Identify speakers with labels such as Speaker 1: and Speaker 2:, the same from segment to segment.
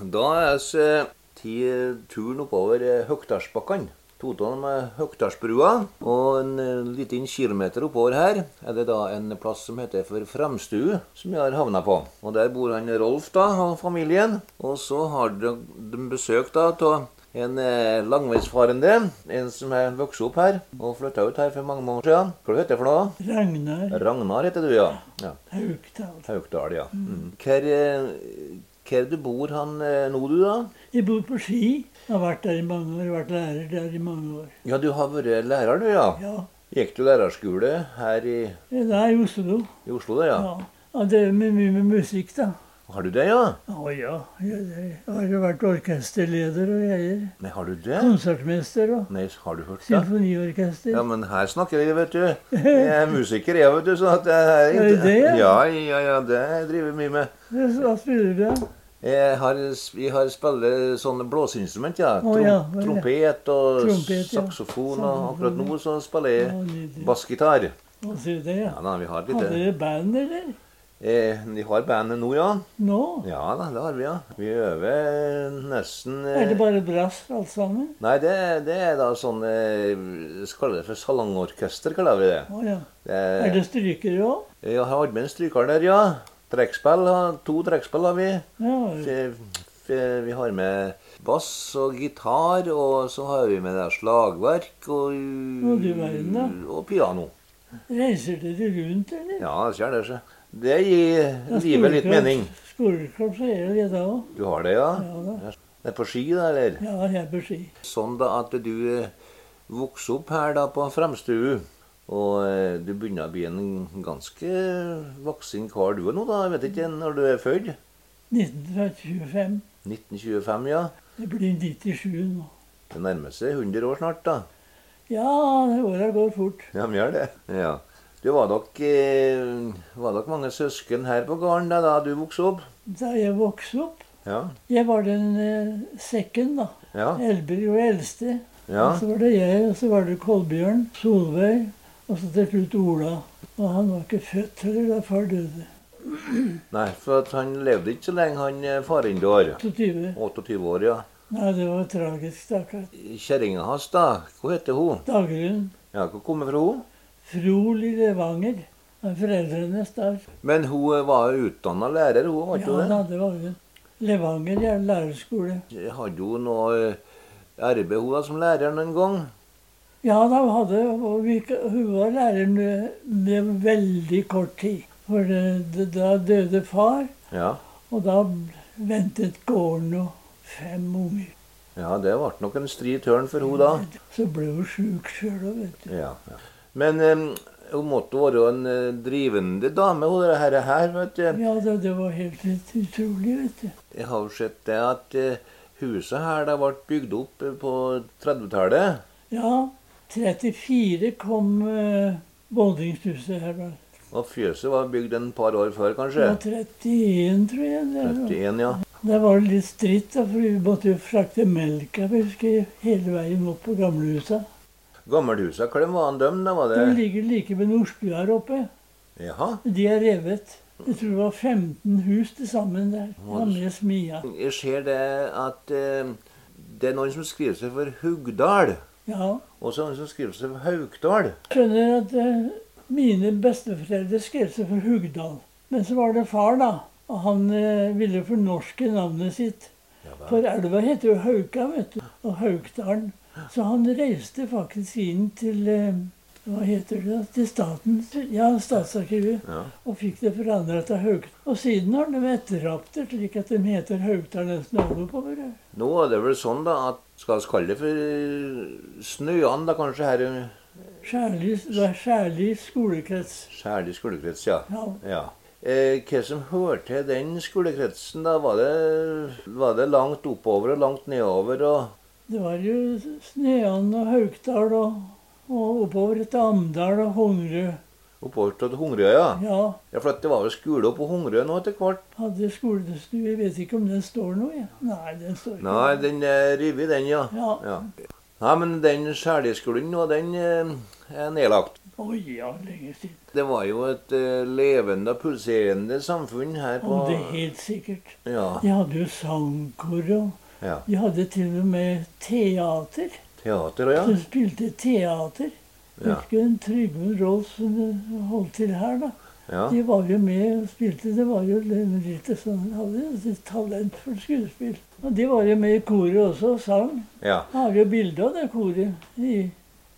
Speaker 1: Da er vi til turen oppover eh, Høgdalsbakkene. Totalen med Høgdalsbrua. Og en eh, liten kilometer oppover her er det da en plass som heter for Framstue, som jeg har havna på. Og Der bor han Rolf da, og familien. Og så har de de besøk da av en eh, langveisfarende, en som er vokst opp her og flytta ut her for mange år siden. Hva heter det for noe?
Speaker 2: Ragnar
Speaker 1: Ragnar heter du, ja. ja.
Speaker 2: Haugdal.
Speaker 1: Haukdal, ja. Mm. Hvor, eh, hvor du bor han eh, nå, du, da?
Speaker 2: Jeg bor på Ski. Jeg har vært der i mange år, jeg har vært lærer der i mange år.
Speaker 1: Ja, du har vært lærer, du, ja.
Speaker 2: Ja,
Speaker 1: Gikk du lærerskole her i,
Speaker 2: jeg er der i Oslo.
Speaker 1: i Oslo, da, ja?
Speaker 2: Ja. Jeg har drevet med mye med musikk, da.
Speaker 1: Har du det, ja?
Speaker 2: Å ja, jeg jeg har jo vært orkesterleder og greier.
Speaker 1: Nei, har du det?
Speaker 2: Mm. Konsertmester og
Speaker 1: Nei, har du hørt det?
Speaker 2: symfoniorkester.
Speaker 1: Ja, men her snakker vi, vet du. Jeg er musiker, jeg, vet du, så at jeg er
Speaker 2: Er du det, ja?
Speaker 1: Ja, ja, ja, det driver jeg mye med.
Speaker 2: Hva spiller du, da?
Speaker 1: Jeg har, vi har spiller sånne blåseinstrument, ja.
Speaker 2: Å, ja,
Speaker 1: Trom-
Speaker 2: vel, ja.
Speaker 1: Trompet og
Speaker 2: Trompet, ja.
Speaker 1: saksofon, og akkurat nå så spiller
Speaker 2: Å,
Speaker 1: jeg
Speaker 2: nydelig.
Speaker 1: bassgitar.
Speaker 2: Hva sier du det, ja?
Speaker 1: Ja, da, vi har litt
Speaker 2: Hadde dere band, eller?
Speaker 1: Eh, vi har bandet nå, ja.
Speaker 2: Nå?
Speaker 1: Ja da, det har vi, ja. Vi øver nesten eh,
Speaker 2: Er det bare brass, alt sammen?
Speaker 1: Nei, det, det er da sånn eh, Så kaller vi det for salongorkester, kaller vi det.
Speaker 2: Å ja.
Speaker 1: det
Speaker 2: Er det strykere òg?
Speaker 1: Jeg har hatt med en stryker der, ja. Trekkspill. har- To trekkspill har vi.
Speaker 2: Ja.
Speaker 1: F- f- Vi har med bass og gitar, og så har vi med det her slagverk og,
Speaker 2: du verden, da.
Speaker 1: og piano.
Speaker 2: Reiser dere rundt, eller?
Speaker 1: Ja, det skjer det seg. Det gir livet litt mening.
Speaker 2: Skolekorps så gjør det da òg.
Speaker 1: Du har det, ja?
Speaker 2: Ja da.
Speaker 1: Det er på ski, da, eller?
Speaker 2: Ja, jeg bør si.
Speaker 1: Sånn da at du eh, vokste opp her da på Fremstue, og eh, du begynner å bli en ganske voksen kar du er nå, da. Jeg vet ikke når du er født.
Speaker 2: 1925.
Speaker 1: 1925, ja.
Speaker 2: Det blir 97 nå.
Speaker 1: Det nærmer seg 100 år snart, da.
Speaker 2: Ja, åra går fort.
Speaker 1: Ja, vi gjør det. Ja. Du var nok, eh, var nok mange søsken her på gården da, da du vokste opp?
Speaker 2: Da jeg vokste opp
Speaker 1: Ja.
Speaker 2: Jeg var den eh, sekken, da.
Speaker 1: Ja.
Speaker 2: Elber jo eldste.
Speaker 1: Ja.
Speaker 2: Og så var det jeg, og så var det Kolbjørn, Solveig, og så til slutt Ola. Og han var ikke født heller da far døde.
Speaker 1: Nei, for at han levde ikke så lenge, han eh, faren vår.
Speaker 2: 22.
Speaker 1: 28 år, ja.
Speaker 2: Nei, det var tragisk, stakkar.
Speaker 1: Kjerringa hans, da. Hva heter hun?
Speaker 2: Dagrun
Speaker 1: Ja, hvor kommer fra hun?
Speaker 2: Frol i Levanger. av Foreldrenes der.
Speaker 1: Men hun eh, var utdanna lærer, hun var ikke
Speaker 2: Ja, da,
Speaker 1: det?
Speaker 2: det var hun. Levanger er en lærerskole.
Speaker 1: Hadde hun noe eh, arbeid hun da som lærer noen gang?
Speaker 2: Ja, da hadde, og vi, hun var lærer med, med veldig kort tid. For eh, det, da døde far,
Speaker 1: Ja.
Speaker 2: og da ventet gården og fem unger.
Speaker 1: ja, det ble nok en stri tørn for hun da.
Speaker 2: Så ble hun sjuk sjøl òg, vet du.
Speaker 1: Ja, ja. Men eh, hun måtte være en eh, drivende dame, hun der herre her, vet du.
Speaker 2: Ja, det, det var helt ut- utrolig, vet du.
Speaker 1: Jeg har jo sett det at eh, huset her da ble bygd opp eh, på 30-tallet.
Speaker 2: Ja, 34 kom eh, Boldingshuset her, da.
Speaker 1: Og fjøset var bygd en par år før,
Speaker 2: Det
Speaker 1: kanskje.
Speaker 2: var 31, tror jeg. Det, var.
Speaker 1: 31, ja.
Speaker 2: Der var det litt stritt, da, for vi måtte jo frakte melka jeg husker jeg, hele veien opp på gamlehusa.
Speaker 1: Gammelhuset, hvordan var han dem da? Var
Speaker 2: De
Speaker 1: det
Speaker 2: ligger like ved Nordstua her oppe.
Speaker 1: Jaha.
Speaker 2: De er revet. Jeg tror det var 15 hus til sammen der. Gamle smia.
Speaker 1: Jeg ser det at eh, det er noen som skriver seg for Hugdal,
Speaker 2: Ja.
Speaker 1: og så er det noen som skriver seg for Haukdal.
Speaker 2: Skjønner at eh, mine besteforeldre skrev seg for Hugdal. Men så var det far, da. Og han eh, ville fornorske navnet sitt.
Speaker 1: Ja, vel.
Speaker 2: For elva heter jo Hauka, vet du. Og Haukdalen. Så han reiste faktisk inn til eh, hva heter det, da? til staten, ja, statsarkivet,
Speaker 1: Ja.
Speaker 2: og fikk det forandra til Haugdal. Og siden har de etterapt det, slik at de heter Haugdal nesten alle oppover. ja.
Speaker 1: Nå er det vel sånn da at skal vi kalle det for eh, Snøan, da kanskje her i
Speaker 2: Skjærli, det er Skjærli skolekrets.
Speaker 1: Skjærli skolekrets, ja.
Speaker 2: Ja,
Speaker 1: ja. Eh, hva som hørte til den skolekretsen, da? Var det, var det langt oppover og langt nedover? og...
Speaker 2: det var jo Snean og Haugdal og, og oppover til Amdal og Hongrø.
Speaker 1: Oppover til Hungerøya? Ja.
Speaker 2: Ja,
Speaker 1: Ja, for at det var jo skole oppe på Hungerøya nå etter hvert.
Speaker 2: hadde skolestue. Jeg vet ikke om den står nå, jeg. Nei, den står ikke.
Speaker 1: Nei, den er revet, den, ja.
Speaker 2: Ja.
Speaker 1: Ja. Nei, men den skjærdiskolen nå, den eh, er nedlagt.
Speaker 2: Å ja, lenge siden.
Speaker 1: Det var jo et eh, levende og pulserende samfunn her på
Speaker 2: Om det er helt sikkert.
Speaker 1: Ja.
Speaker 2: De hadde jo sangkor, og
Speaker 1: ja.
Speaker 2: de hadde til og med teater.
Speaker 1: Teater, ja.
Speaker 2: De spilte teater.
Speaker 1: Ja.
Speaker 2: Husker du Trygmund Rolf som eh, holdt til her, da?
Speaker 1: ja.
Speaker 2: De var jo med og spilte. Det var jo litt sånn de hadde jo et talent for skuespill. Og de var jo med i koret også og sang.
Speaker 1: ja.
Speaker 2: Jeg har jo bilde av det koret i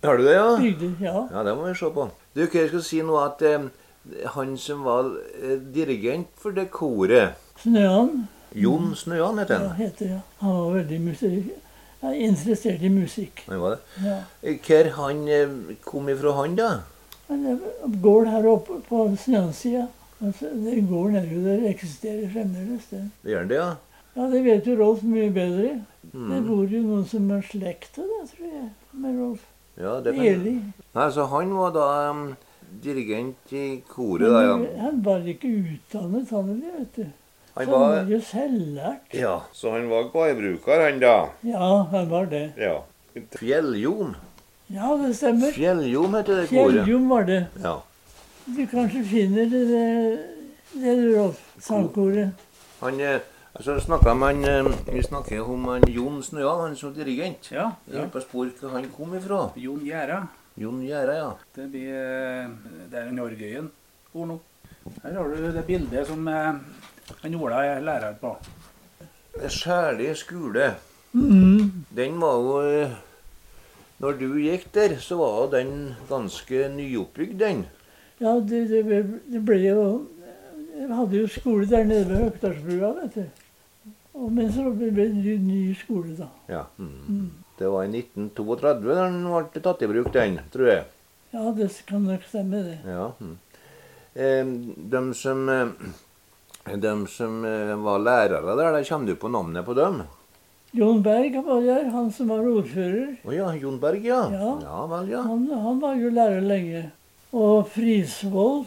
Speaker 1: Har du det, ja?
Speaker 2: bygder. Ja.
Speaker 1: Ja, det må vi se på. Du, hva jeg skal si nå at eh, han som var eh, dirigent for det koret,
Speaker 2: Snøan
Speaker 1: Jon Snøan het
Speaker 2: ja,
Speaker 1: han.
Speaker 2: heter det. Han var veldig musikk, ja, interessert i musikk.
Speaker 1: Han var det.
Speaker 2: Ja.
Speaker 1: Hvor han eh, kom ifra han, da?
Speaker 2: Men det går her oppe på snøsida. Altså, det går nedi der. Eksisterer fremdeles det.
Speaker 1: Det gjør han det, ja?
Speaker 2: Ja, det vet jo Rolf mye bedre. Det
Speaker 1: Mm.
Speaker 2: bor jo noen som er slekta, da, tror jeg, med Rolf.
Speaker 1: ja det kan...
Speaker 2: Eli.
Speaker 1: Nei, så han var da em, dirigent i koret, da, ja.
Speaker 2: Men Han var ikke utdannet, han heller, vet du. Så
Speaker 1: Han
Speaker 2: han var
Speaker 1: var
Speaker 2: jo selvlært.
Speaker 1: Ja. Så han var gårdbruker, han da?
Speaker 2: Ja, han var det.
Speaker 1: Ja. Fjelljom.
Speaker 2: Ja, det stemmer.
Speaker 1: Fjelljom heter det koret.
Speaker 2: Fjelljom var det.
Speaker 1: Ja.
Speaker 2: Du kanskje finner det, det, det Rolf-sangkoret.
Speaker 1: Han eh, altså, snakket med han, eh, Vi snakker jo om han Jon Snøa, han som dirigent.
Speaker 3: Ja,
Speaker 1: Jeg holdt på å spore hvor han kom ifra.
Speaker 3: Jon Gjæra.
Speaker 1: Jon Gjæra, ja.
Speaker 3: Det, blir, eh, det er en Norgøyen ord nå. Her har du det bildet som eh, han Ola er lærer på.
Speaker 1: Særlig skole. Mm. Den var jo eh, Når du gikk der, så var jo den ganske nyoppbygd, den.
Speaker 2: Ja, det, det, ble, det ble jo Jeg hadde jo skole der nede ved Høgdalsbrua, vet du. Og, men så ble det ny, ny skole, da.
Speaker 1: Ja. Det var i 1932 da den ble tatt i bruk, den, tror jeg.
Speaker 2: Ja, det kan nok stemme, det.
Speaker 1: Ja. Mm. Eh, De som, eh, de som eh, var lærere der, der kommer du på navnet på dem?
Speaker 2: Jon Berg var der, han som var ordfører.
Speaker 1: Å ja, Jon Berg, ja.
Speaker 2: Ja.
Speaker 1: vel, ja.
Speaker 2: Han, han var jo lærer lenge. Og Frisvold.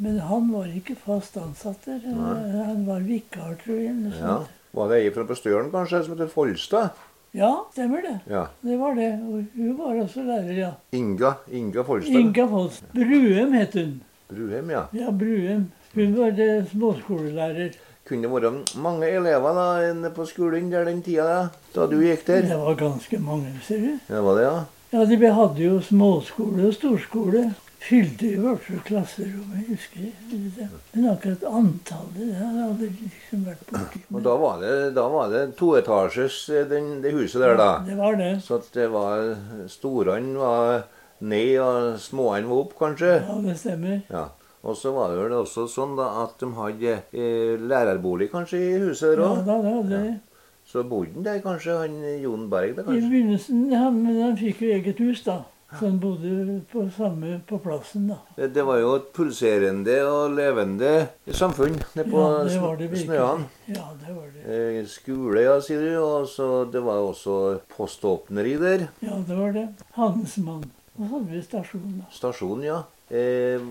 Speaker 2: Men han var ikke fast ansatt der.
Speaker 1: Nei.
Speaker 2: Han var vikar, tror jeg. Eller sånn.
Speaker 1: ja.
Speaker 2: sånt.
Speaker 1: Var det ei fra på Støren, kanskje, som heter Folstad?
Speaker 2: ja, stemmer det.
Speaker 1: Ja.
Speaker 2: Det var det. Og hun var også lærer, ja.
Speaker 1: Inga. Inga Folstad.
Speaker 2: Inga Foss. Bruem het hun.
Speaker 1: Bruheim, ja.
Speaker 2: Ja, Bruem. Hun var det småskolelærer.
Speaker 1: kunne være mange elever da, inne på skolen der den tida da, da du gikk der.
Speaker 2: Det var ganske mange, ser du.
Speaker 1: Ja, var det, ja.
Speaker 2: Ja, de vi hadde jo småskole og storskole. Fylte i hvert fall klasserommet, husker jeg. det. Men akkurat antallet, det har jeg aldri liksom vært borti.
Speaker 1: Og da var det, da var det toetasjes, eh, den, det huset der, da.
Speaker 2: Det var det.
Speaker 1: Så at det var Storene var ned, og småene var opp, kanskje.
Speaker 2: Ja, det stemmer.
Speaker 1: Ja. Og så var det vel også sånn da at de hadde eh, lærerbolig kanskje i huset der
Speaker 2: Ja,
Speaker 1: òg.
Speaker 2: da, da, det.
Speaker 1: Så bodde han der kanskje, han eh, Jon Berg der
Speaker 2: I
Speaker 1: kanskje.
Speaker 2: begynnelsen, han, men han fikk jo eget hus, da. Så han bodde på samme på plassen, da.
Speaker 1: Det, det var jo et pulserende og levende samfunn nede på
Speaker 2: Ja, det
Speaker 1: Sn-
Speaker 2: var det virkelig.
Speaker 1: Snøan.
Speaker 2: Ja, det var det.
Speaker 1: Eh, skole, ja, sier du. Og så det var jo også poståpneri der.
Speaker 2: Ja, det var det. Handelsmann. Og så hadde vi stasjon, da.
Speaker 1: Stasjonen, ja. Eh,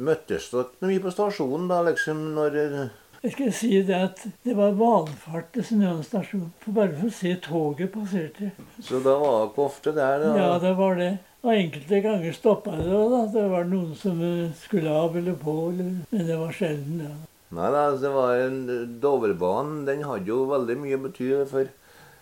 Speaker 1: møttes dere mye på stasjonen da, liksom, når eh,
Speaker 2: Jeg skal si det at det var valfart til Snøen stasjon. For bare for å se toget passerte.
Speaker 1: Så da var dere ofte der, da?
Speaker 2: Ja, det var det. Og enkelte ganger stoppa det òg, da. Det var noen som eh, skulle av eller på, eller Men det var sjelden, ja.
Speaker 1: Nei da, det var en Dovrebanen. Den hadde jo veldig mye betyr for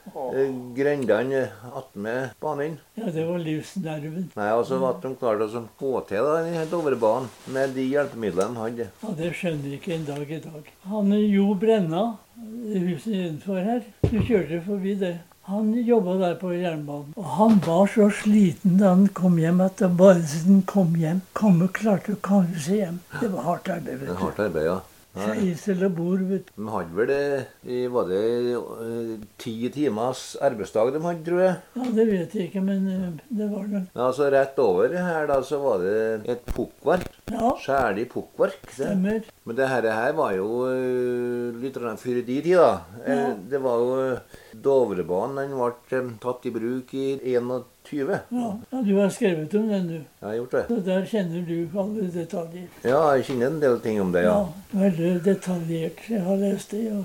Speaker 1: eh, grendene attmed banen.
Speaker 2: Ja, det var livsnerven.
Speaker 1: Nei, altså at de klarte å sånn få til da, denne Dovrebanen med de hjelpemidlene de hadde.
Speaker 2: Ja, det skjønner jeg ikke en dag i dag. Han eh, Jo Brenna, det huset nedenfor her, du kjørte forbi det. Han jobba der på jernbanen. Og han var så sliten da han kom hjem at det bare siden han kom hjem, komme klarte å komme seg hjem. Det var hardt arbeid,
Speaker 1: Det er
Speaker 2: vet du.
Speaker 1: hardt arbeid, ja. Nei.
Speaker 2: Sveisel og bord, vet du.
Speaker 1: De hadde vel det i- Var det eh, ti timers arbeidsdag de hadde, tror jeg?
Speaker 2: Ja, det vet jeg ikke, men eh, det var nok
Speaker 1: Men altså Rett over her da, så var det et pukkverk.
Speaker 2: Ja,
Speaker 1: Skjære i pukkverk. det.
Speaker 2: stemmer.
Speaker 1: Men det her, her var jo eh, litt grann før i de tida. Eh, Det var jo Dovrebanen den ble eh, tatt i bruk i 21.
Speaker 2: Ja, ja, du har skrevet om den, du.
Speaker 1: Jeg har gjort det.
Speaker 2: Så der kjenner du alle detaljer.
Speaker 1: Ja, jeg kjenner en del ting om det, ja.
Speaker 2: Ja, veldig detaljert. Jeg har lest det. Ja.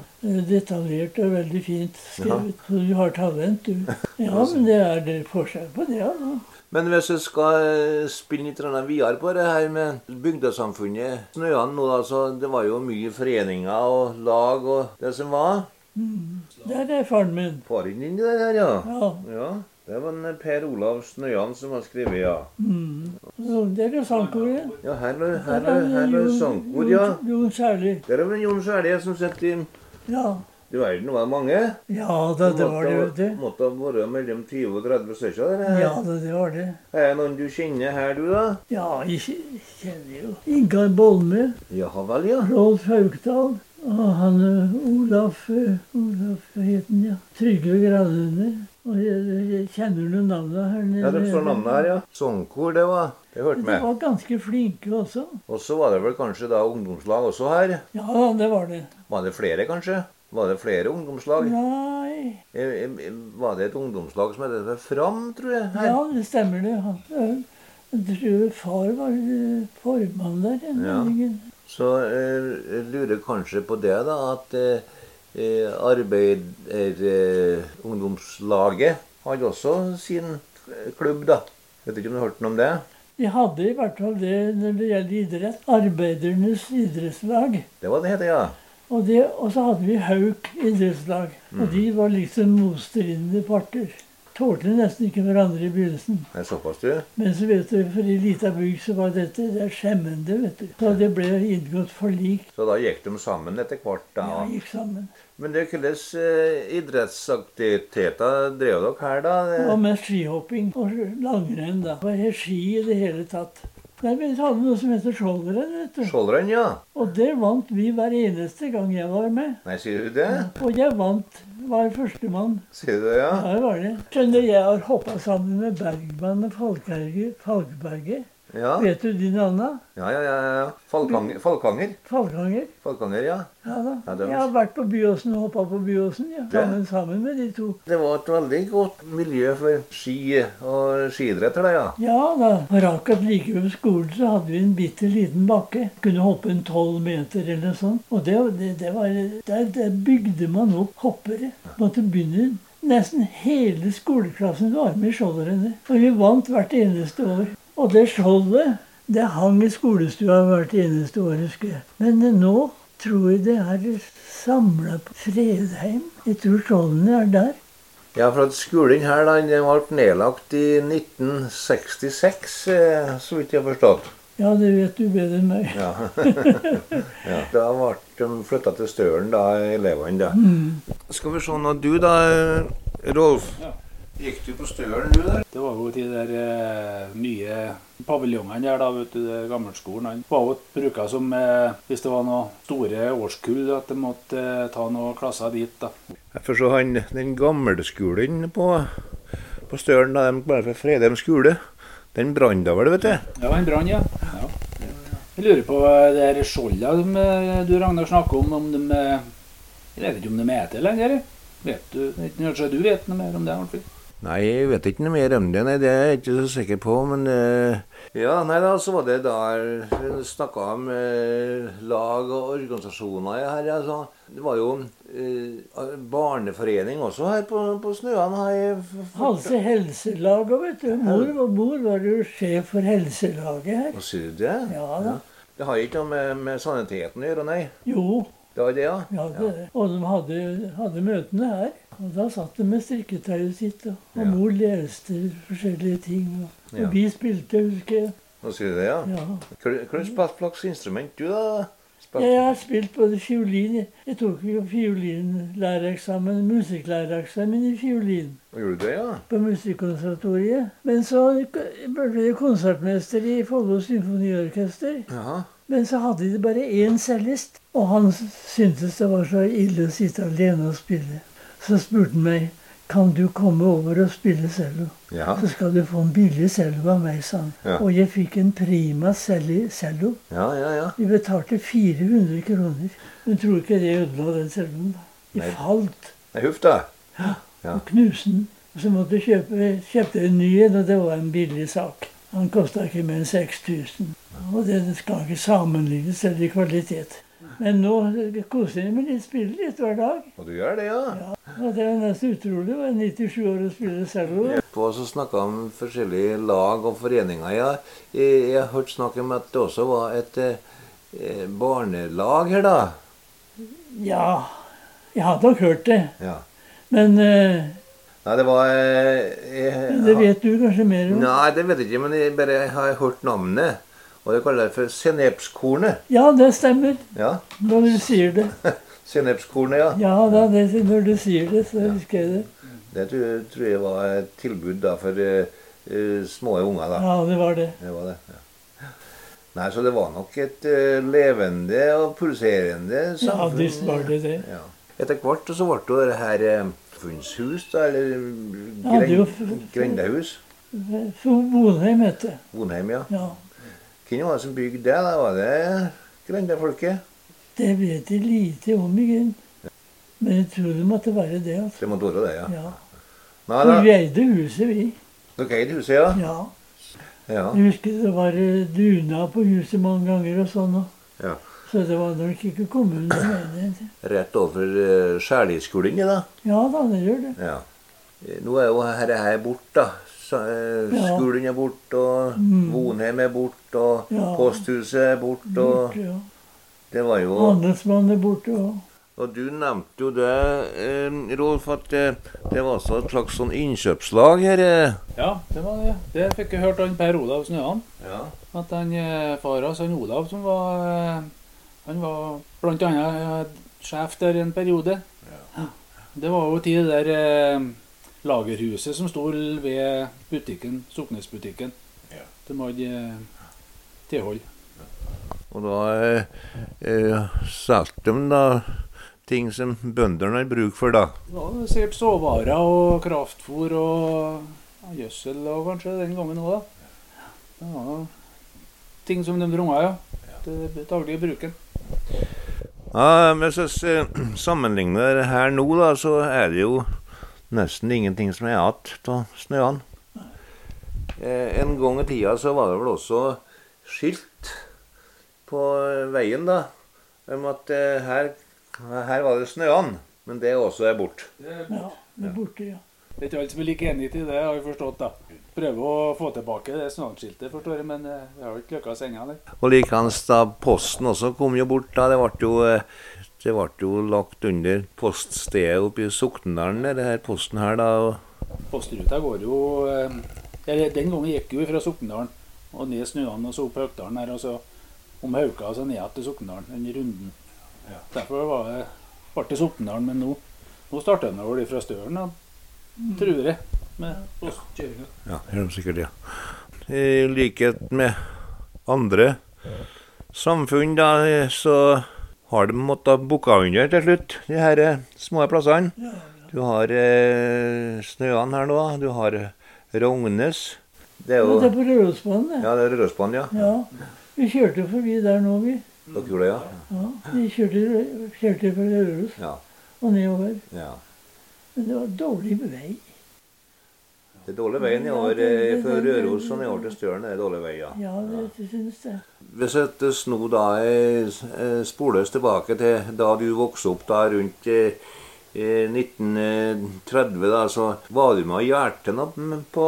Speaker 2: Detaljert og veldig fint skrevet. Så du har talent, du. Ja, men det er det forskjell på det, altså.
Speaker 1: Men hvis jeg skal eh, spille litt grann videre på det her med bygdesamfunnet Snøan nå, altså, det var jo mye foreninger og lag og det som var.
Speaker 2: Der er faren min.
Speaker 1: Faren din i det der, ja.
Speaker 2: Ja,
Speaker 1: Ja, Det var en eh, Per Olav Snøan som har skrevet, ja.
Speaker 2: mm. så det er jo sangkoret.
Speaker 1: Ja, her var her var- her var sangkor, ja.
Speaker 2: Jon- Jon Særlig.
Speaker 1: Der er vel Jon Selje som sitter i
Speaker 2: Ja.
Speaker 1: Du verden, det var mange.
Speaker 2: ja da, det var det, vet du.
Speaker 1: Måtte ha vært mellom 20 og 30 stykker. det her.
Speaker 2: Ja da, det var det.
Speaker 1: Er det noen du kjenner her, du, da?
Speaker 2: Ja, jeg kj- kjenner jo Ingar Bolme,
Speaker 1: Jaha vel, ja.
Speaker 2: Rolf Haugdal og han eh, Olaf eh, Olaf, hva het han, ja? Trygve Granunder. Og jeg, jeg kjenner du navnet her nede?
Speaker 1: Ja, Det står navnet her, ja. Sangkor, det var Det hørte
Speaker 2: eh, De
Speaker 1: med.
Speaker 2: var ganske flinke også.
Speaker 1: Og så var det vel kanskje da ungdomslag også her.
Speaker 2: Ja da, det var det.
Speaker 1: Var det flere, kanskje? Var det flere ungdomslag?
Speaker 2: Nei
Speaker 1: Eh, eh, Var det et ungdomslag som het Fram, tror jeg? Her?
Speaker 2: Ja, det stemmer det. Han, eh, jeg tror far var eh, formann der. en
Speaker 1: Ja.
Speaker 2: meningen.
Speaker 1: Så eh, jeg lurer kanskje på det, da, at eh, eh, arbeiderungdomslaget hadde også sin eh, klubb, da. Vet ikke om du har hørt noe om det?
Speaker 2: De hadde i hvert fall det når det gjelder idrett. Arbeidernes idrettslag.
Speaker 1: Det var det det het, ja.
Speaker 2: Og, det, og så hadde vi Hauk idrettslag. Og de var liksom motstridende parter. Tålte nesten ikke hverandre i begynnelsen.
Speaker 1: Det er såpass, du.
Speaker 2: Men så vet du, for i lita bygd så var dette det er skjemmende, vet du. Så det ble inngått forlik.
Speaker 1: Så da gikk de sammen etter hvert, da.
Speaker 2: Ja, gikk sammen.
Speaker 1: Men det, hvilke eh, idrettsaktiviteter drev dere her, da?
Speaker 2: Det var mest skihopping og langrenn, da. Det var helt ski i det hele tatt. Nei, men Vi hadde noe som heter skjoldrenn, vet du.
Speaker 1: Skjoldrenn, ja.
Speaker 2: Og det vant vi hver eneste gang jeg var med.
Speaker 1: Nei, sier du det?
Speaker 2: Og jeg vant. Var førstemann.
Speaker 1: Sier du det, ja?
Speaker 2: Ja, det var det. Skjønner, jeg har hoppa sammen med Bergman og Falkberget. Falkberget.
Speaker 1: Ja, ja,
Speaker 2: Vet du de navna?
Speaker 1: ja. ja, ja. Falkanger. Falkanger,
Speaker 2: Falkanger.
Speaker 1: Falkanger ja.
Speaker 2: Ja da.
Speaker 1: Ja, det var-
Speaker 2: Jeg har vært på Byåsen og hoppa på Byåsen, ja.
Speaker 1: Det-
Speaker 2: Sammen, sammen med de to.
Speaker 1: Det var et veldig godt miljø for ski og skidretter, da, ja.
Speaker 2: Ja da. Og Akkurat like ved skolen så hadde vi en bitte liten bakke. Kunne hoppe en tolv meter eller noe sånt. Og det, det, det var, der, der bygde man opp hoppere. Måtte begynne Nesten hele skoleklassen var med i skjoldrennet. Og vi vant hvert eneste år. Og det skjoldet det hang i skolestua hvert eneste år, husker jeg. Men eh, nå tror jeg det er samla på Fredheim. Jeg tror skjoldene er der.
Speaker 1: Ja, for at skolen her da, den ble nedlagt i 1966, eh, så vidt jeg har forstått.
Speaker 2: Ja, det vet du bedre enn meg.
Speaker 1: Ja. ja. Da ble de flytta til Stølen, da, elevene. da. Skal vi se nå, du da, Rolf.
Speaker 3: Ja.
Speaker 1: Gikk du på Stølen, du der?
Speaker 3: Det var jo de der eh, nye paviljongene der, da, vet du, det gammelskolen. Han var jo bruka som, eh, hvis det var noen store årskull, at de måtte eh, ta noen klasser dit, da.
Speaker 1: For så han, den gamle skolen på, på Stølen, da, de bare fra Fredheim skole, den brann da vel, vet du?
Speaker 3: Det var en brann, ja. ja. Jeg lurer på eh, det her skjoldet de, eh, du, Ragnar, snakker om, om de eh, Jeg vet ikke om de heter det lenger. jeg. Vet du, vet- kanskje du vet noe mer om det? Arnfrid?
Speaker 1: Nei, jeg vet ikke noe mer om det. Nei, det er jeg ikke så sikker på, men eh, Ja, nei da, så var det der vi snakka om eh, lag og organisasjoner her. Altså. Det var jo eh, barneforening også her på, på Snøan. Har jeg f- f-
Speaker 2: Halse helselaget, Altså, vet du. Mor, mor var jo sjef for helselaget her.
Speaker 1: Hva sier du det?
Speaker 2: Ja da.
Speaker 1: Det har ikke noe med, med saniteten å gjøre, nei.
Speaker 2: Jo,
Speaker 1: Det var det, ja?
Speaker 2: ja, det, er det. og de hadde, hadde møtene her. Og da satt de med strikketøyet sitt, og, og
Speaker 1: Ja.
Speaker 2: mor leste forskjellige ting. Og, og
Speaker 1: Ja.
Speaker 2: vi spilte, husker jeg.
Speaker 1: Hva sier du det, ja?
Speaker 2: Ja.
Speaker 1: Hvilket slags instrument du, da?
Speaker 2: Ja,
Speaker 1: Spilte-
Speaker 2: jeg har spilt både fiolin Jeg tok jo fiolinlærereksamen, musikklærereksamen i fiolin.
Speaker 1: Gjorde du det, ja?
Speaker 2: på Musikkonservatoriet. Men så ble jeg konsertmester i Follo symfoniorkester.
Speaker 1: Jaha.
Speaker 2: Men så hadde de bare én cellist, og han syntes det var så ille å sitte alene og spille. Så spurte han meg Kan du komme over og spille cello?
Speaker 1: Ja.
Speaker 2: Så skal du få en billig cello av meg, sa han.
Speaker 1: Ja.
Speaker 2: Og jeg fikk en prima celli- cello.
Speaker 1: Ja, ja, ja.
Speaker 2: Vi betalte 400 kroner. Du tror ikke det ødela den celloen? da.
Speaker 1: Nei.
Speaker 2: De falt.
Speaker 1: Nei, huff da. Ja.
Speaker 2: og knuse den. Og Så måtte jeg kjøpe kjøpte jeg en ny en, og det var en billig sak. Han kosta ikke mer enn 6000. Og det skal ikke sammenlignes eller i kvalitet. Men nå koser jeg meg litt, spiller litt hver dag.
Speaker 1: Og du gjør det, ja?
Speaker 2: Og det er nesten utrolig å være 97 år og spille cello.
Speaker 1: På så snakket om forskjellige lag og foreninger. Ja. Jeg, jeg har hørt snakk om at det også var et eh, eh, barnelag her, da.
Speaker 2: Ja, jeg har nok hørt det.
Speaker 1: Ja.
Speaker 2: Men eh,
Speaker 1: Nei, det var eh, jeg,
Speaker 2: det vet du kanskje mer om?
Speaker 1: Nei, det vet jeg ikke, men jeg bare har hørt navnet. Og jeg kaller det for sennepskornet.
Speaker 2: Ja, det stemmer.
Speaker 1: Ja,
Speaker 2: Når du sier det.
Speaker 1: sennepskornet, ja.
Speaker 2: Ja, da, det, når du sier det, så husker jeg det.
Speaker 1: Det tror, tror jeg var et tilbud da for eh, eh, små unger, da.
Speaker 2: Ja, det var det.
Speaker 1: Det var det. Ja. Nei, så det var nok et eh, levende og pulserende
Speaker 2: Ja,
Speaker 1: samfunn.
Speaker 2: visst var det det.
Speaker 1: Ja. Etter hvert så ble det jo det her eh, funnshus, da, eller eh,
Speaker 2: Ja, det er jo f-
Speaker 1: gren- grendehus.
Speaker 2: For Bonheim het det.
Speaker 1: Vonheim, ja.
Speaker 2: Ja.
Speaker 1: Hvem var det som bygde det? da? Var det grendefolket?
Speaker 2: Det vet jeg lite om, i grunnen. Men jeg tror det måtte være det. altså.
Speaker 1: Det måtte være det, ja.
Speaker 2: Ja.
Speaker 1: Nei da,
Speaker 2: For vi eide huset, vi.
Speaker 1: dere eide huset, ja?
Speaker 2: Ja.
Speaker 1: Ja.
Speaker 2: Jeg husker det var eh, duna på huset mange ganger og sånn. og-
Speaker 1: Ja.
Speaker 2: Så det var nok ikke kommunen som eide det.
Speaker 1: Rett overfor eh, Skjærliskolen, ja, da.
Speaker 2: Ja da, det gjør det.
Speaker 1: Ja. Eh, Nå er jo dette her borte, da. Så, eh,
Speaker 2: Ja. Mm.
Speaker 1: Skolen er borte, og Vonheim er borte, og
Speaker 2: Ja.
Speaker 1: posthuset er borte. Og
Speaker 2: Borte, ja.
Speaker 1: det var jo
Speaker 2: Handelsmannen er borte òg.
Speaker 1: Og du nevnte jo det, eh, Rolf, at eh, det var også et slags sånn innkjøpslag her. eh.
Speaker 3: Ja, det var det. Det fikk jeg hørt han Per Olav Snøan.
Speaker 1: Ja.
Speaker 3: At han eh, far hans, han Olav, som var eh, Han var blant annet eh, sjef der en periode. Ja. Det var jo tid det der eh, lagerhuset som sto ved butikken, Soknesbutikken.
Speaker 1: Ja.
Speaker 3: De hadde eh, tilhold.
Speaker 1: Og da eh, eh, solgte de da ting som bøndene har bruk for, da.
Speaker 3: Det var jo sikkert såvarer og kraftfôr og ja, gjødsel og kanskje den gangen òg, da. Det var jo ting som de drunga, ja. Til det daglige bruken.
Speaker 1: Ja, men hvis jeg s- sammenligner det her nå, da, så er det jo nesten ingenting som er igjen av snøene. Eh, en gang i tida så var det vel også skilt på eh, veien, da, om at eh, her, her var det snøene. Men det også er borte.
Speaker 3: Det er
Speaker 2: Ja, det er borte, ja.
Speaker 3: Det er ikke alle som er like enig i det, har jeg forstått. da. Prøver å få tilbake det snøskiltet, forstår jeg, men eh, det har jo ikke lykkes ennå. eller?
Speaker 1: Og likeens da posten også kom jo bort. da, Det ble jo, eh, det ble jo lagt under poststedet oppe i Soknedalen, det her posten her, da. og
Speaker 3: Postruta går jo eh, Eller den gangen gikk jo fra Sokndalen og ned Snøan og så opp Høgdalen her, og så om Hauka og så ned igjen til Sokndalen, den runden. Derfor var det, ble det Sokndalen, men nå, nå starter den vel fra Støren, da. tror jeg. Med postkjøringa.
Speaker 1: Ja, det gjør de sikkert, ja. I likhet med andre samfunn, da, så har de måttet bukke under til slutt, de her eh, små plassene. Du har eh, Snøan her nå, du har eh, Rognes. Det er
Speaker 2: Ja,
Speaker 1: jo
Speaker 2: Det er på Rørosbanen, det.
Speaker 1: Ja, det er Rørosbanen, ja.
Speaker 2: Ja. Vi kjørte forbi der nå, vi.
Speaker 1: Dere gjorde det, ja.
Speaker 2: Ja, Vi kjørte, kjørte fra Røros
Speaker 1: ja.
Speaker 2: og nedover.
Speaker 1: ja.
Speaker 2: Men det var dårlig vei.
Speaker 1: Det er dårlig veien i år eh, fra Røros og nedover til Støren. Det er dårlig vei, ja.
Speaker 2: Ja, det det syns jeg.
Speaker 1: Hvis jeg nå da eh, eh, spoles tilbake til da du vokste opp da rundt eh, eh, 1930, da, så var du med og hjalp til noe på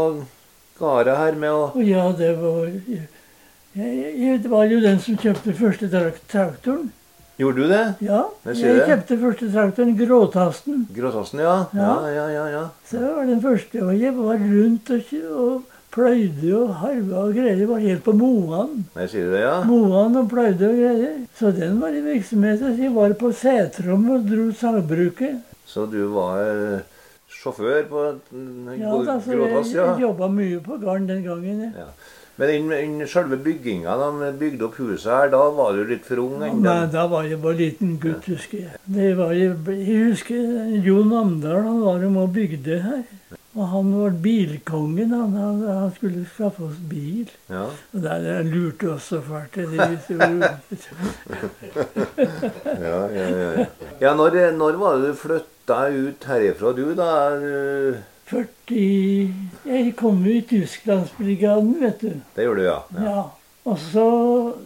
Speaker 1: gårda her med å
Speaker 2: Og ja, det var jeg, jeg, Det var jo den som kjøpte første trak traktoren.
Speaker 1: Gjorde du det?
Speaker 2: Ja,
Speaker 1: Jeg ser
Speaker 2: jeg
Speaker 1: det.
Speaker 2: kjøpte første traktoren, Gråtasten.
Speaker 1: Gråtassen, ja. Ja,
Speaker 2: Ja.
Speaker 1: ja, ja. ja.
Speaker 2: Så det var den første. Og jeg var rundt og, kjø- og pløyde og harva og greier. Jeg var helt på Moan.
Speaker 1: Jeg sier det, ja.
Speaker 2: Moan og pløyde og greier. Så den var i virksomhet. Så jeg var på Sætrom og dro sagbruket.
Speaker 1: Så du var eh, sjåfør på mm,
Speaker 2: Ja,
Speaker 1: Grå-
Speaker 2: da, så jeg,
Speaker 1: Gråtass,
Speaker 2: jeg
Speaker 1: ja.
Speaker 2: jobba mye på gården den gangen. jeg.
Speaker 1: ja. Men innen innen selve bygginga, da de bygde opp huset her, da var du litt for ung
Speaker 2: Ja,
Speaker 1: ennå?
Speaker 2: men da var jeg bare liten gutt, husker jeg. Det var jeg, jeg husker Jon Amdal han var med og bygde her. Og han var bilkongen. Han, han, han skulle skaffe oss bil.
Speaker 1: Ja.
Speaker 2: Og der jeg lurte oss så fælt. Det visste jo-
Speaker 1: Ja, ja, ja, ja. ja når, når var det du flytta ut herifra, du, da? eh, Du-
Speaker 2: 40 Jeg kom jo i Tysklandsbrigaden, vet du.
Speaker 1: Det gjorde du, ja. ja.
Speaker 2: Ja. Og så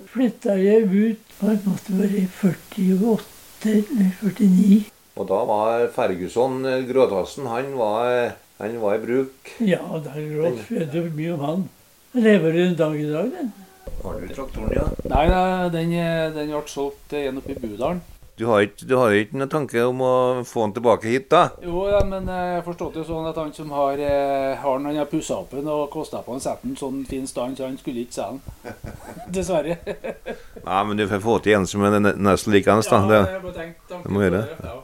Speaker 2: flytta jeg ut på en måte var i 48 eller 49.
Speaker 1: Og da var Ferguson eh, Gråtassen, han var, han var i bruk.
Speaker 2: Ja, da gråt det jo mye om han. Lever du en dag i dag, den?
Speaker 1: Har du traktoren, ja?
Speaker 3: Nei, da, den, eh, den ble solgt til en oppe i Budalen.
Speaker 1: Du har ikke, du har ikke noen tanke om å få han tilbake hit, da?
Speaker 3: Jo, ja, men eh, jeg forstod det jo sånn at han som har, eh, har den, han har pussa opp den og kosta på en setten sånn fin stand, så han skulle ikke selge den. Dessverre.
Speaker 1: Nei, men du får få til en som er ne- nesten likeens, da. Det-
Speaker 3: bare tenkt tanken
Speaker 1: Det må gjøre
Speaker 3: på det, ja.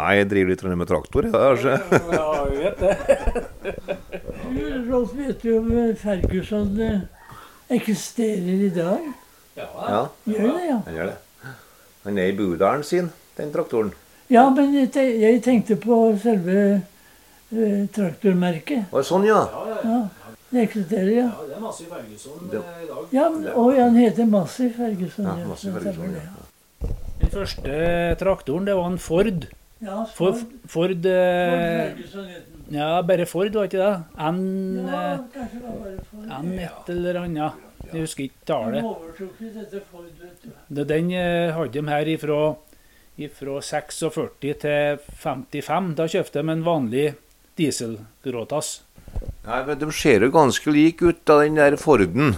Speaker 1: Nei, jeg driver litt med traktor, altså. jeg, da, kanskje.
Speaker 3: Ja, vi vet det.
Speaker 2: Du, Rolf, vet du om Ferguson eh, eksisterer i dag?
Speaker 1: Ja,
Speaker 2: Gjør det, ja.
Speaker 1: han gjør det. Han er i budalen sin, den traktoren.
Speaker 2: Ja, men jeg te- jeg tenkte på selve eh, traktormerket.
Speaker 1: Å, sånn, ja.
Speaker 2: Ja, det eksisterer, ja.
Speaker 3: det er masse i Ferguson
Speaker 1: Det-
Speaker 3: i dag.
Speaker 2: Ja, men, og han heter Massiv Ferguson.
Speaker 1: Ja, Massiv Ferguson, ja.
Speaker 3: Den første traktoren, det var en Ford.
Speaker 2: ja
Speaker 3: For,
Speaker 2: Ford-
Speaker 3: Ford
Speaker 2: Ford
Speaker 3: eh,
Speaker 2: Ferguson het den.
Speaker 3: Ja, bare Ford, var ikke det? N,
Speaker 2: Ja,
Speaker 3: eh,
Speaker 2: kanskje det var bare Ford.
Speaker 3: N et eller annet. Jeg husker ikke
Speaker 2: De
Speaker 3: tallet.
Speaker 2: overtok jo dette Ford, vet du.
Speaker 3: Det- Den eh, hadde de her ifra, ifra 46 til 55. Da kjøpte de en vanlig dieselgråtass.
Speaker 1: Nei, men De ser jo ganske like ut, da, den der Forden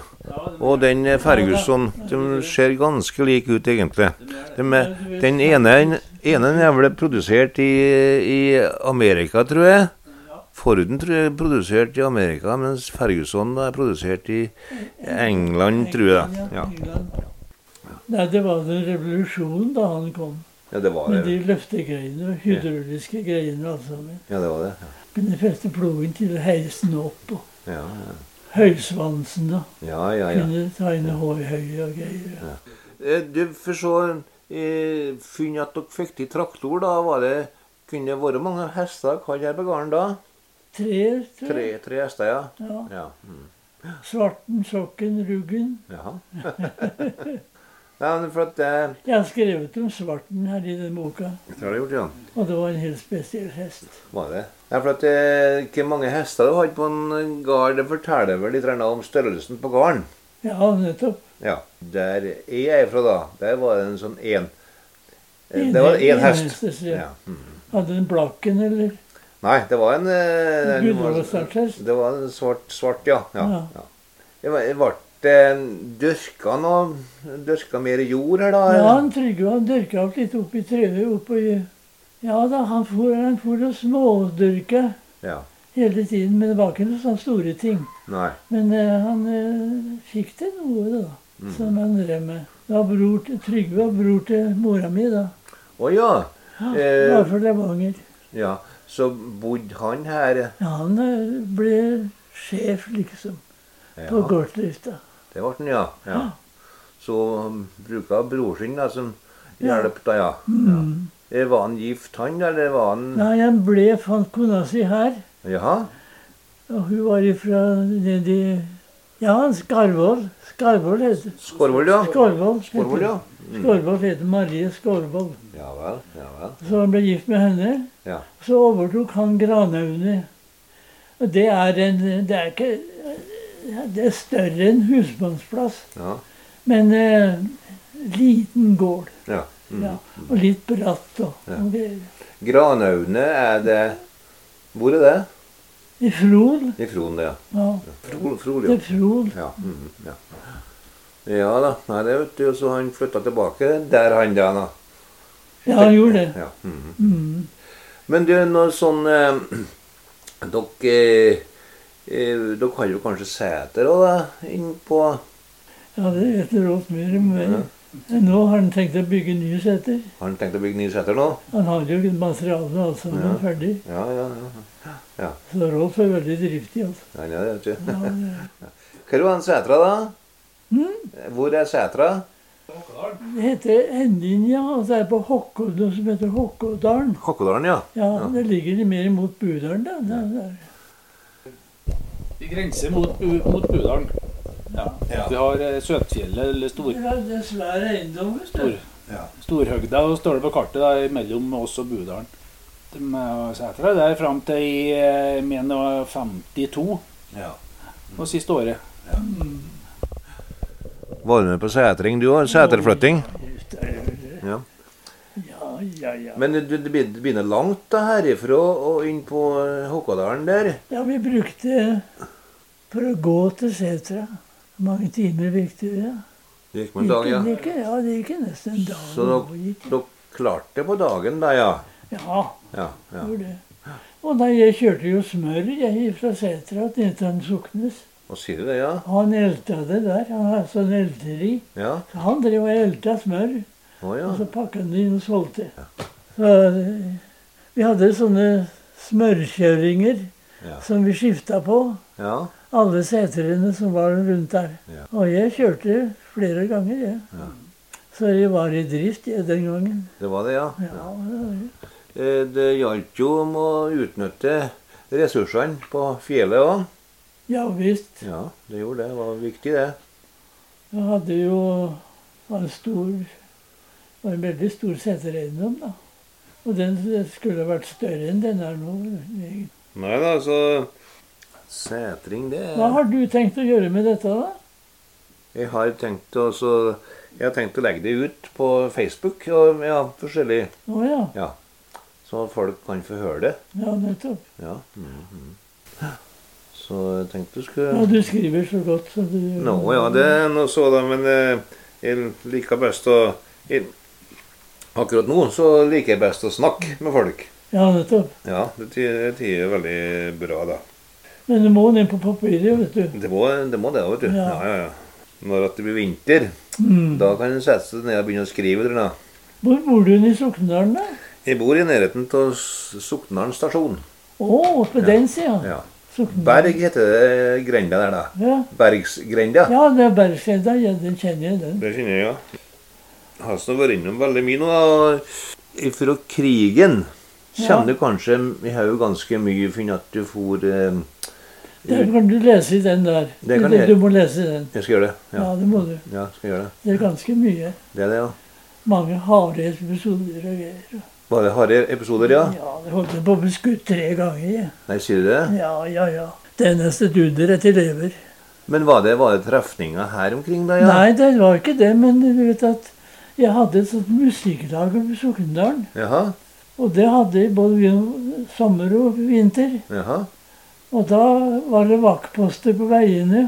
Speaker 1: og den eh, Ferguson. De ser ganske like ut, egentlig. De er, den ene ene er vel produsert i, i Amerika, tror jeg. Forden tror jeg er produsert i Amerika, mens Ferguson er produsert i England, tror jeg. Ja,
Speaker 2: England. Nei, det var en revolusjon da han kom.
Speaker 1: ja det var
Speaker 2: Med
Speaker 1: det.
Speaker 2: de løftegreiene, hydrauliske greiene og alt sammen.
Speaker 1: Ja, det var det.
Speaker 2: Kunne feste plogen til å heise den opp. og
Speaker 1: Ja,
Speaker 2: Høysvansen, da.
Speaker 1: ja, ja. ja.
Speaker 2: Kunne ta inn hårhøye og greier. ja.
Speaker 1: Eh, Du får se eh, Funn at dere fikk til traktor, da var det Kunne det vært mange hester dere hadde her på gården da?
Speaker 2: Tre, tror
Speaker 1: Tre,
Speaker 2: jeg.
Speaker 1: tre hester, ja.
Speaker 2: Ja.
Speaker 1: Ja. Mm.
Speaker 2: Svarten, sokken, ruggen.
Speaker 1: Jaha. Nei, men for at eh,
Speaker 2: Jeg har skrevet om svarten her i den boka.
Speaker 1: Det har du gjort, ja.
Speaker 2: Og det var en helt spesiell hest.
Speaker 1: Var det? Nei, for at eh, Hvor mange hester du hadde på en gard, det forteller vel litt grann om størrelsen på gården.
Speaker 2: Ja, nettopp.
Speaker 1: Ja. Der jeg er fra, da, der var det en sånn én eh, Det var én hest.
Speaker 2: enhestes, ja.
Speaker 1: Ja. Mm.
Speaker 2: Hadde den blakken, eller?
Speaker 1: Nei, det var en eh, en-
Speaker 2: Gulrotsartest?
Speaker 1: Det var en svart, svart ja. ja,
Speaker 2: Ja.
Speaker 1: ja. Det var- det ble det dyrka noe Dyrka mer jord her, da?
Speaker 2: Ja, han Trygve han dyrka opp litt oppi treet oppå Ja da, han for, han for og smådyrka
Speaker 1: Ja.
Speaker 2: hele tiden, men det var ikke noen sånne store ting.
Speaker 1: Nei.
Speaker 2: Men eh, han eh, fikk til noe, da,
Speaker 1: Mm.
Speaker 2: som han drev med. Det var bror til Trygve og bror til mora mi, da.
Speaker 1: Å ja.
Speaker 2: Ja,
Speaker 1: Eh.
Speaker 2: Var fra Levanger.
Speaker 1: ja. Så bodde han her?
Speaker 2: Ja, han eh, ble sjef, liksom, på
Speaker 1: Ja,
Speaker 2: gårdsdrifta.
Speaker 1: det ble han, ja. ja.
Speaker 2: Ja.
Speaker 1: Så bruka bror sin da, som
Speaker 2: Ja.
Speaker 1: hjalp, da, ja.
Speaker 2: Mm.
Speaker 1: Eh, Var han gift, han, eller var han
Speaker 2: Nei, han ble fant kona si her,
Speaker 1: Jaha?
Speaker 2: og hun var ifra nedi Ja, Skarvoll. Skarvoll heter det.
Speaker 1: Skårvoll, ja.
Speaker 2: Skorvold.
Speaker 1: Skårvoll, ja. Mm.
Speaker 2: Skorvold heter Marie Skorvold.
Speaker 1: Ja vel. Ja vel.
Speaker 2: Så han ble gift med henne.
Speaker 1: Ja.
Speaker 2: Så overtok han Granhaugene. Og det er en Det er ikke ja, Det er større enn husmannsplass,
Speaker 1: Ja.
Speaker 2: men eh, liten gård.
Speaker 1: ja. Mm.
Speaker 2: Ja, og litt bratt og
Speaker 1: Ja.
Speaker 2: og greier.
Speaker 1: Granaune, er det Hvor er det?
Speaker 2: I Frol.
Speaker 1: I Fron, det, ja.
Speaker 2: Ja,
Speaker 1: Frol, Frol,
Speaker 2: det
Speaker 1: ja.
Speaker 2: er Frol.
Speaker 1: Ja, mhm, ja. ja da. Nei, det vet du, og så han flytta tilbake der, han da. da.
Speaker 2: Ja, han gjorde det.
Speaker 1: Ja. mhm.
Speaker 2: Mm.
Speaker 1: Men du, når sånn eh, Dere eh, eh, Dere har jo kanskje seter òg, da? Innpå
Speaker 2: Ja, det vet Rolf Myhre. Men nå har han tenkt å bygge nye seter.
Speaker 1: Har han tenkt å bygge nye seter nå?
Speaker 2: Han har jo materialet og alt sammen
Speaker 1: Ja.
Speaker 2: ferdig.
Speaker 1: Ja, ja. ja.
Speaker 2: Så Rolf er veldig driftig, altså.
Speaker 1: Nei, ja, det vet du.
Speaker 2: Ja, det-
Speaker 1: Hvor var han setra, da?
Speaker 2: Mm.
Speaker 1: Hvor er setra?
Speaker 2: Det heter Endinja, og det er på Hokkå, noe som heter Håkådalen.
Speaker 1: Hakkodalen, ja.
Speaker 2: Ja, det ligger litt mer mot Budalen, da. Det er der.
Speaker 3: Vi grenser mot, Bu- mot Budalen. Ja.
Speaker 1: Ja.
Speaker 3: Vi har eh, Søtfjellet, eller Stor,
Speaker 2: Det er- det er svær eiendom, vet
Speaker 3: Stor,
Speaker 2: du.
Speaker 1: Ja.
Speaker 3: Storhøgda, og står det på kartet da, mellom oss og Budalen. De, eh, Sætra der fram til i eh, 1952,
Speaker 1: ja.
Speaker 3: og siste året.
Speaker 1: Var du med på setring, du òg? Seterflytting? Ja.
Speaker 2: Ja, ja, ja.
Speaker 1: Men du, det be- det begynner langt da herifra og inn på eh, Håkådalen der.
Speaker 2: Ja, vi brukte for å gå til setra. Mange timer gikk det. Ja.
Speaker 1: Det gikk med en
Speaker 2: Gikk,
Speaker 1: dag, ja.
Speaker 2: en- gikk, en- ja, det gikk en nesten en dag.
Speaker 1: Så
Speaker 2: og
Speaker 1: dere-
Speaker 2: gikk.
Speaker 1: dere klarte det på dagen, da, ja.
Speaker 2: Ja,
Speaker 1: Ja, ja.
Speaker 2: gjorde det. Og da jeg kjørte jo smør jeg fra setra til Etran Soknes.
Speaker 1: Og sier du det, ja?
Speaker 2: Han elta det der. Han har sånn elteri.
Speaker 1: Ja.
Speaker 2: Så han drev og elta smør.
Speaker 1: Å ja.
Speaker 2: Og så pakka han det inn og solgte. Så, eh, vi hadde sånne smørkjøringer
Speaker 1: Ja.
Speaker 2: som vi skifta på.
Speaker 1: ja.
Speaker 2: alle setrene som var rundt der.
Speaker 1: Ja.
Speaker 2: Og jeg kjørte flere ganger, jeg. Så jeg var i drift jeg, den gangen.
Speaker 1: Det var det, ja.
Speaker 2: Ja, det var jeg.
Speaker 1: Eh, Det gjaldt jo om å utnytte ressursene på fjellet òg.
Speaker 2: ja visst.
Speaker 1: Ja, det gjorde det. Det var viktig, det.
Speaker 2: Jeg hadde jo var en stor var en veldig stor setereiendom, da. Og den skulle vært større enn den er nå. egentlig.
Speaker 1: Nei da, altså- så Setring, det
Speaker 2: Hva har du tenkt å gjøre med dette, da?
Speaker 1: Jeg har tenkt å så- Jeg har tenkt å legge det ut på Facebook og ja, forskjellig,
Speaker 2: Å ja.
Speaker 1: så folk kan få høre det.
Speaker 2: Ja, nettopp.
Speaker 1: Ja. mhm, mhm. Så jeg tenkte du skulle
Speaker 2: Ja, du skriver så godt som du gjør.
Speaker 1: Nå, ja, det er noe så da, men eh, jeg liker best å jeg, Akkurat nå så liker jeg best å snakke med folk.
Speaker 2: Ja, nettopp.
Speaker 1: Ja, det ty- det tyder veldig bra, da.
Speaker 2: Men du må ned på papiret, vet du.
Speaker 1: Det må det, må det vet du. Ja.
Speaker 2: Ja.
Speaker 1: Ja, ja, Når at det blir vinter,
Speaker 2: Mm.
Speaker 1: da kan en sette seg ned og begynne å skrive. Tror jeg.
Speaker 2: Hvor bor du i Soknedalen, da?
Speaker 1: jeg bor i nærheten av Soknaren stasjon.
Speaker 2: Å, på den sida.
Speaker 1: Ja.
Speaker 2: Soknedal.
Speaker 1: Berg heter det grenda der, da.
Speaker 2: Ja.
Speaker 1: Bergsgrenda.
Speaker 2: ja, det er Bergskjedda. Ja, den kjenner jeg, den.
Speaker 1: Det kjenner jeg, ja. Jeg har snart vært innom veldig mye nå. og Fra krigen
Speaker 2: Ja.
Speaker 1: kommer du kanskje i hodet ganske mye for at du for eh,
Speaker 2: Der kan du lese i den der.
Speaker 1: Det kan
Speaker 2: du,
Speaker 1: jeg.
Speaker 2: du må lese i den.
Speaker 1: Jeg skal gjøre det.
Speaker 2: Ja.
Speaker 1: Ja.
Speaker 2: det må du.
Speaker 1: ja, skal gjøre det.
Speaker 2: Det er ganske mye.
Speaker 1: Det er det, ja.
Speaker 2: Mange harde episoder og greier.
Speaker 1: Var det harde episoder, ja?
Speaker 2: Ja, det holdt jeg på å bli skutt tre ganger. jeg.
Speaker 1: Nei, sier du det?
Speaker 2: Ja, ja, ja. Det er nesten et under etter lever.
Speaker 1: Men var det, var det trefninger her omkring, da? ja?
Speaker 2: Nei, det var ikke det, men du vet at jeg hadde et sånt musikklag oppe i Sokndalen.
Speaker 1: Jaha?
Speaker 2: Og det hadde jeg både vin- sommer og vinter.
Speaker 1: Jaha?
Speaker 2: Og da var det vaktposter på veiene.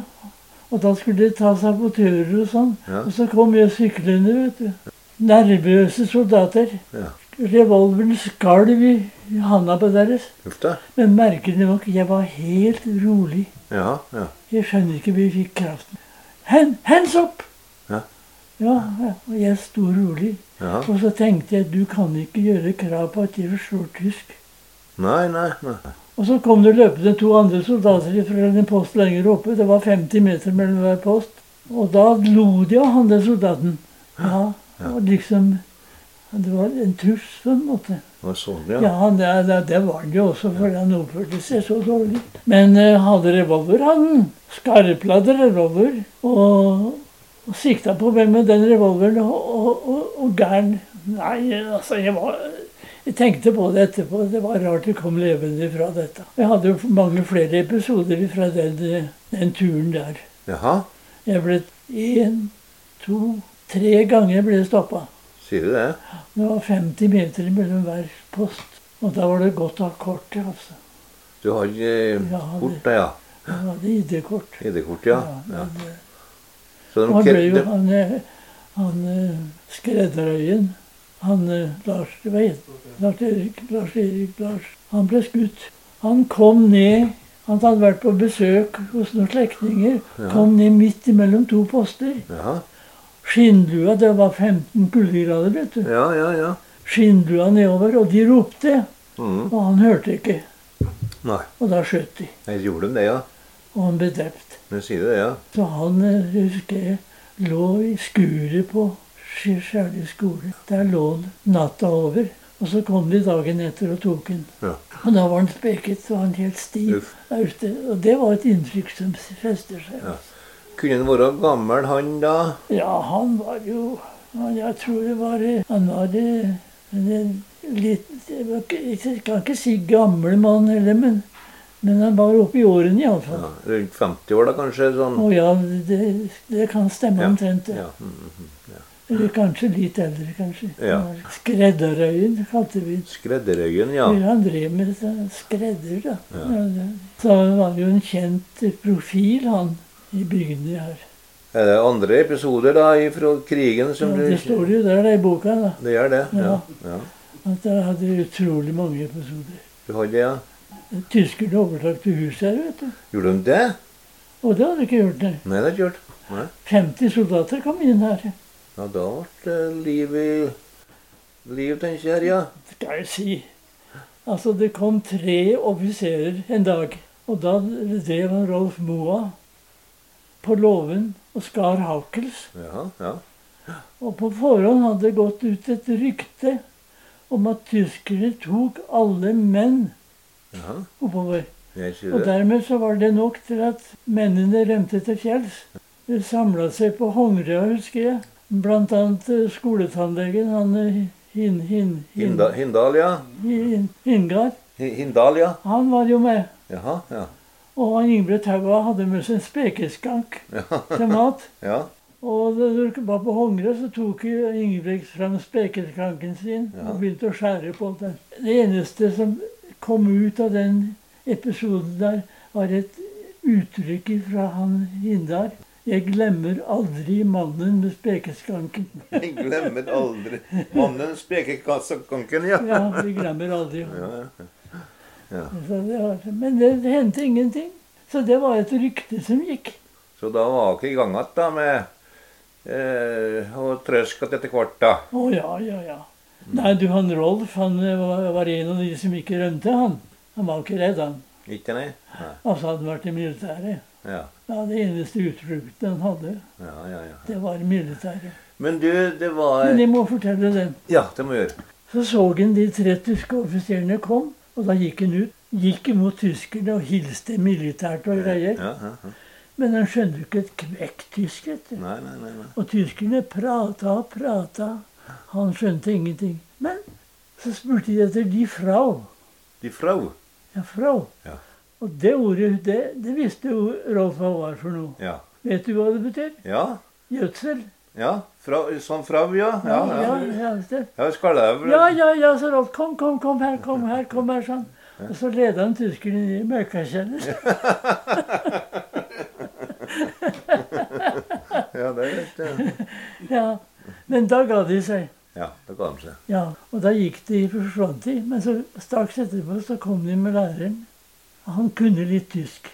Speaker 2: Og da skulle de ta seg på turer og sånn.
Speaker 1: Ja.
Speaker 2: Og så kom jeg syklende, vet du. Nervøse soldater.
Speaker 1: Ja.
Speaker 2: Revolveren skalv i i handa på deres.
Speaker 1: Uff da.
Speaker 2: Men merkelig nok, jeg var helt rolig.
Speaker 1: Jaha? Ja.
Speaker 2: Jeg skjønner ikke hvor jeg fikk kraften. Hen, hands up!
Speaker 1: Ja.
Speaker 2: Ja, ja, og jeg sto rolig.
Speaker 1: Jaha?
Speaker 2: Og så tenkte jeg, du kan ikke gjøre krav på at jeg forstår tysk.
Speaker 1: Nei, nei, nei.
Speaker 2: Og så kom det løpende to andre soldater fra en post lenger oppe. Det var 50 meter mellom hver post. Og da lo de av han der soldaten. Ja, og liksom Det var en truss på en måte.
Speaker 1: Det var sånn,
Speaker 2: Ja,
Speaker 1: ja.
Speaker 2: han der, der, der var han jo også, fordi han oppførte seg så dårlig. Men eh, hadde revolver, han. Skarpladd revolver. Og, og sikta på meg med den revolveren, og, og, og, og gæren Nei, altså, jeg var jeg tenkte på det etterpå. Det var rart det kom levende fra dette. Jeg hadde jo mange flere episoder fra den, eh, den turen der.
Speaker 1: Jaha?
Speaker 2: Jeg ble én, to, tre ganger ble stoppa.
Speaker 1: Sier du det?
Speaker 2: Det var 50 meter mellom hver post. Og da var det godt å ha kort. altså.
Speaker 1: Du har eh,
Speaker 2: Ja, det-
Speaker 1: kort, da, ja.
Speaker 2: Da hadde ID-kort.
Speaker 1: ID-kort, ja. ja.
Speaker 2: men, eh,
Speaker 1: Så
Speaker 2: Han ble jo
Speaker 1: de,
Speaker 2: han, eh, han eh, skredderøyen. Han eh, Lars hva het- Lars Erik, Lars Erik, Lars. Han ble skutt. Han kom ned Han hadde vært på besøk hos noen slektninger. Kom ned midt imellom to poster.
Speaker 1: Jaha?
Speaker 2: Skinnlua, det var 15 kuldegrader, vet du.
Speaker 1: Ja, ja, ja.
Speaker 2: Skinnlua nedover, og de ropte.
Speaker 1: Mhm.
Speaker 2: Og han hørte ikke.
Speaker 1: Nei,
Speaker 2: Og da skjøt de.
Speaker 1: jeg gjorde de det, ja.
Speaker 2: og han ble drept.
Speaker 1: Men sier du det, ja?
Speaker 2: Så han eh, husker jeg lå i skuret på Skjærli skole. Der lå han natta over. Og så kom de dagen etter og tok han.
Speaker 1: Ja.
Speaker 2: Og da var han speket og han helt stiv
Speaker 1: Uff.
Speaker 2: der ute. Og det var et inntrykk som fester seg.
Speaker 1: Ja. Kunne han være gammel, han da?
Speaker 2: Ja, han var jo han, Jeg tror det var eh, Han var eh, en en litt Jeg var ikke- jeg kan ikke si gammel mann heller, men, men han var oppe i årene iallfall.
Speaker 1: Ja, rundt 50 år, da kanskje? sånn?
Speaker 2: Å ja, det, det kan stemme
Speaker 1: Ja,
Speaker 2: omtrent. det.
Speaker 1: Ja. mm,
Speaker 2: Eller kanskje litt eldre, kanskje.
Speaker 1: Ja.
Speaker 2: Skredderøyen kalte vi det.
Speaker 1: Skredderøyen, ja.
Speaker 2: For Han drev med sånn skredder, da. Ja, det- Så han var jo en kjent profil, han, i bygdene her.
Speaker 1: Er det andre episoder da fra krigen
Speaker 2: Ja,
Speaker 1: som du
Speaker 2: det står jo der da, i boka, da.
Speaker 1: Det gjør det? Ja.
Speaker 2: Ja.
Speaker 1: ja.
Speaker 2: At jeg hadde utrolig mange episoder.
Speaker 1: Du hadde det, ja?
Speaker 2: Tyskerne overtok til huset her, vet du.
Speaker 1: Gjorde de det?
Speaker 2: Og det hadde ikke gjort det.
Speaker 1: Nei, det har ikke gjort. Nei.
Speaker 2: 50 soldater kom inn her.
Speaker 1: Ja, da ble det liv i Liv, tenker jeg her, ja.
Speaker 2: skal jeg si. Altså, det kom tre offiserer en dag. Og da drev han Rolf Moa på låven og skar Haukels.
Speaker 1: Jaha, ja.
Speaker 2: Og på forhånd hadde det gått ut et rykte om at tyskere tok alle menn
Speaker 1: Jaha.
Speaker 2: oppover.
Speaker 1: Jeg sier
Speaker 2: Og
Speaker 1: det.
Speaker 2: dermed så var det nok til at mennene rømte til fjells. De samla seg på Hongra, husker jeg. Blant annet eh, skoletannlegen, han eh, hin, hin, hin,
Speaker 1: Hinda, Hindal, ja.
Speaker 2: hin, Hingard.
Speaker 1: Hi- Hindal, ja.
Speaker 2: Han var jo med.
Speaker 1: Jaha, ja.
Speaker 2: Og han Ingebrigt Haua hadde med seg en spekeskank til mat.
Speaker 1: Ja,
Speaker 2: Og da du var på Hongre, så tok jo Ingebrigt fram spekeskanken sin
Speaker 1: Ja.
Speaker 2: og begynte å skjære på den. Det eneste som kom ut av den episoden der, var et uttrykk fra han Hindar. Jeg glemmer aldri mannen med spekeskanken.
Speaker 1: jeg glemmer aldri mannen spekekassekonken, ja.
Speaker 2: Ja, vi glemmer aldri
Speaker 1: Ja,
Speaker 2: ham.
Speaker 1: ja.
Speaker 2: Så det var- Men det hendte ingenting. Så det var et rykte som gikk.
Speaker 1: Så da var dere i gang igjen da med eh, å trøske etter hvert, da.
Speaker 2: Å ja, ja, ja. Nei, du han Rolf han eh, var, var en av de som ikke rømte, han. Han var ikke redd, han.
Speaker 1: Ikke det? Nei.
Speaker 2: Altså, han hadde vært i militæret.
Speaker 1: Ja,
Speaker 2: Ja, Det eneste utflukten han hadde,
Speaker 1: ja, ja, ja.
Speaker 2: det var militæret.
Speaker 1: Men du, det var
Speaker 2: Men jeg må fortelle den.
Speaker 1: Ja, det må vi gjøre.
Speaker 2: Så så han de tre tyske offiserene kom, og da gikk han ut. Gikk imot tyskerne og hilste militært og greier.
Speaker 1: Ja, ja, ja.
Speaker 2: Men han skjønte jo ikke et kvekk tysk, vet du.
Speaker 1: Nei, nei, nei. nei.
Speaker 2: Og tyskerne prata og prata. Han skjønte ingenting. Men så spurte de etter de frau.
Speaker 1: De fra?
Speaker 2: Ja, Frau.
Speaker 1: Ja.
Speaker 2: Og det ordet, det, det visste jo Rolf hva var for noe.
Speaker 1: Ja.
Speaker 2: Vet du hva det betyr?
Speaker 1: Ja,
Speaker 2: Gjødsel.
Speaker 1: ja. Fra, sånn fra, ja. Ja, ja.
Speaker 2: ja, ja, det-
Speaker 1: Ja, vi skal det vel.
Speaker 2: ja, ja, ja, sa Rolf. Kom, kom, kom her, kom her, kom her, sånn. Og så leda han tyskerne ned i møkkakjelleren.
Speaker 1: Ja, det er greit. Ja,
Speaker 2: Ja. Men da ga de seg.
Speaker 1: ja det ga de seg.
Speaker 2: Ja, Og da gikk de forsvant de. Men så straks etterpå så kom de med læreren. Han kunne litt tysk.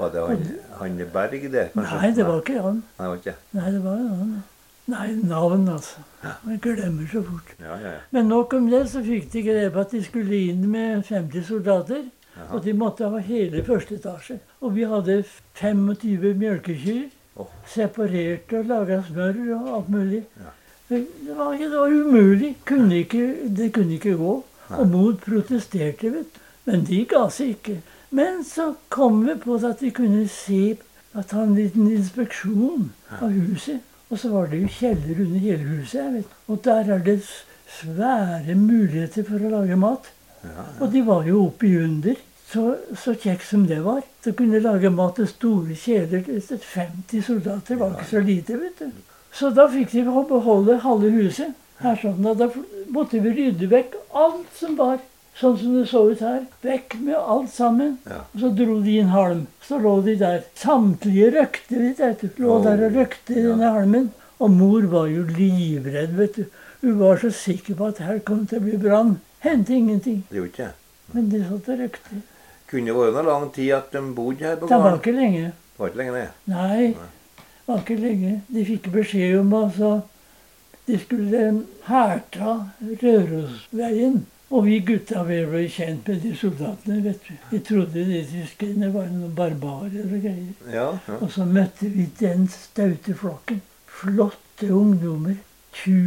Speaker 1: Var det han, han Berg det, kanskje?
Speaker 2: Nei, det var ikke han.
Speaker 1: Nei, det var ikke.
Speaker 2: Nei, det var han. Nei, navn, altså. Man glemmer så fort.
Speaker 1: Ja, ja, ja.
Speaker 2: Men nok om det, så fikk de grep at de skulle inn med 50 soldater.
Speaker 1: Jaha.
Speaker 2: Og de måtte ha hele første etasje. Og vi hadde 25 melkekyr.
Speaker 1: Åh.
Speaker 2: Separerte og laga smør og alt mulig.
Speaker 1: Ja.
Speaker 2: Det var, det var umulig. Kunne ikke, det kunne ikke gå. Og mot protesterte, vet du. Men de ga seg ikke. Men så kom vi på at vi kunne se at han hadde en liten inspeksjon av huset. Og så var det jo kjeller under hele huset. Jeg vet. Og der er det s- svære muligheter for å lage mat. Og de var jo oppe i under. Så, så kjekk som det var. Så kunne de lage mat til store kjeler. til 50 soldater var ikke så lite, vet du. Så da fikk de beholde halve huset. Her sånn, og Da fl- måtte vi rydde vekk alt som var. Sånn som det så ut her. Vekk med alt sammen.
Speaker 1: Ja.
Speaker 2: Og så dro de inn halm. Så lå de der. Samtlige røkte litt. vet du. Lå
Speaker 1: Åh,
Speaker 2: der og røkte i
Speaker 1: ja.
Speaker 2: denne halmen. Og mor var jo livredd, vet du. Hun var så sikker på at her kom det til å bli brann. Hendte ingenting.
Speaker 1: Det gjorde ikke.
Speaker 2: Men de satt og røkte.
Speaker 1: Kunne det vært noe lang tid at de bodde her på
Speaker 2: Det var
Speaker 1: gården?
Speaker 2: ikke lenge.
Speaker 1: Det var ikke lenge, det.
Speaker 2: Nei, det var ikke lenge. De fikk beskjed om altså De skulle herta Rørosveien. Og vi gutta vi ble kjent med de soldatene. vet du. Vi trodde de tyskerne var noen barbarer og greier.
Speaker 1: Ja, ja.
Speaker 2: Og så møtte vi den staute flokken. Flotte ungdommer.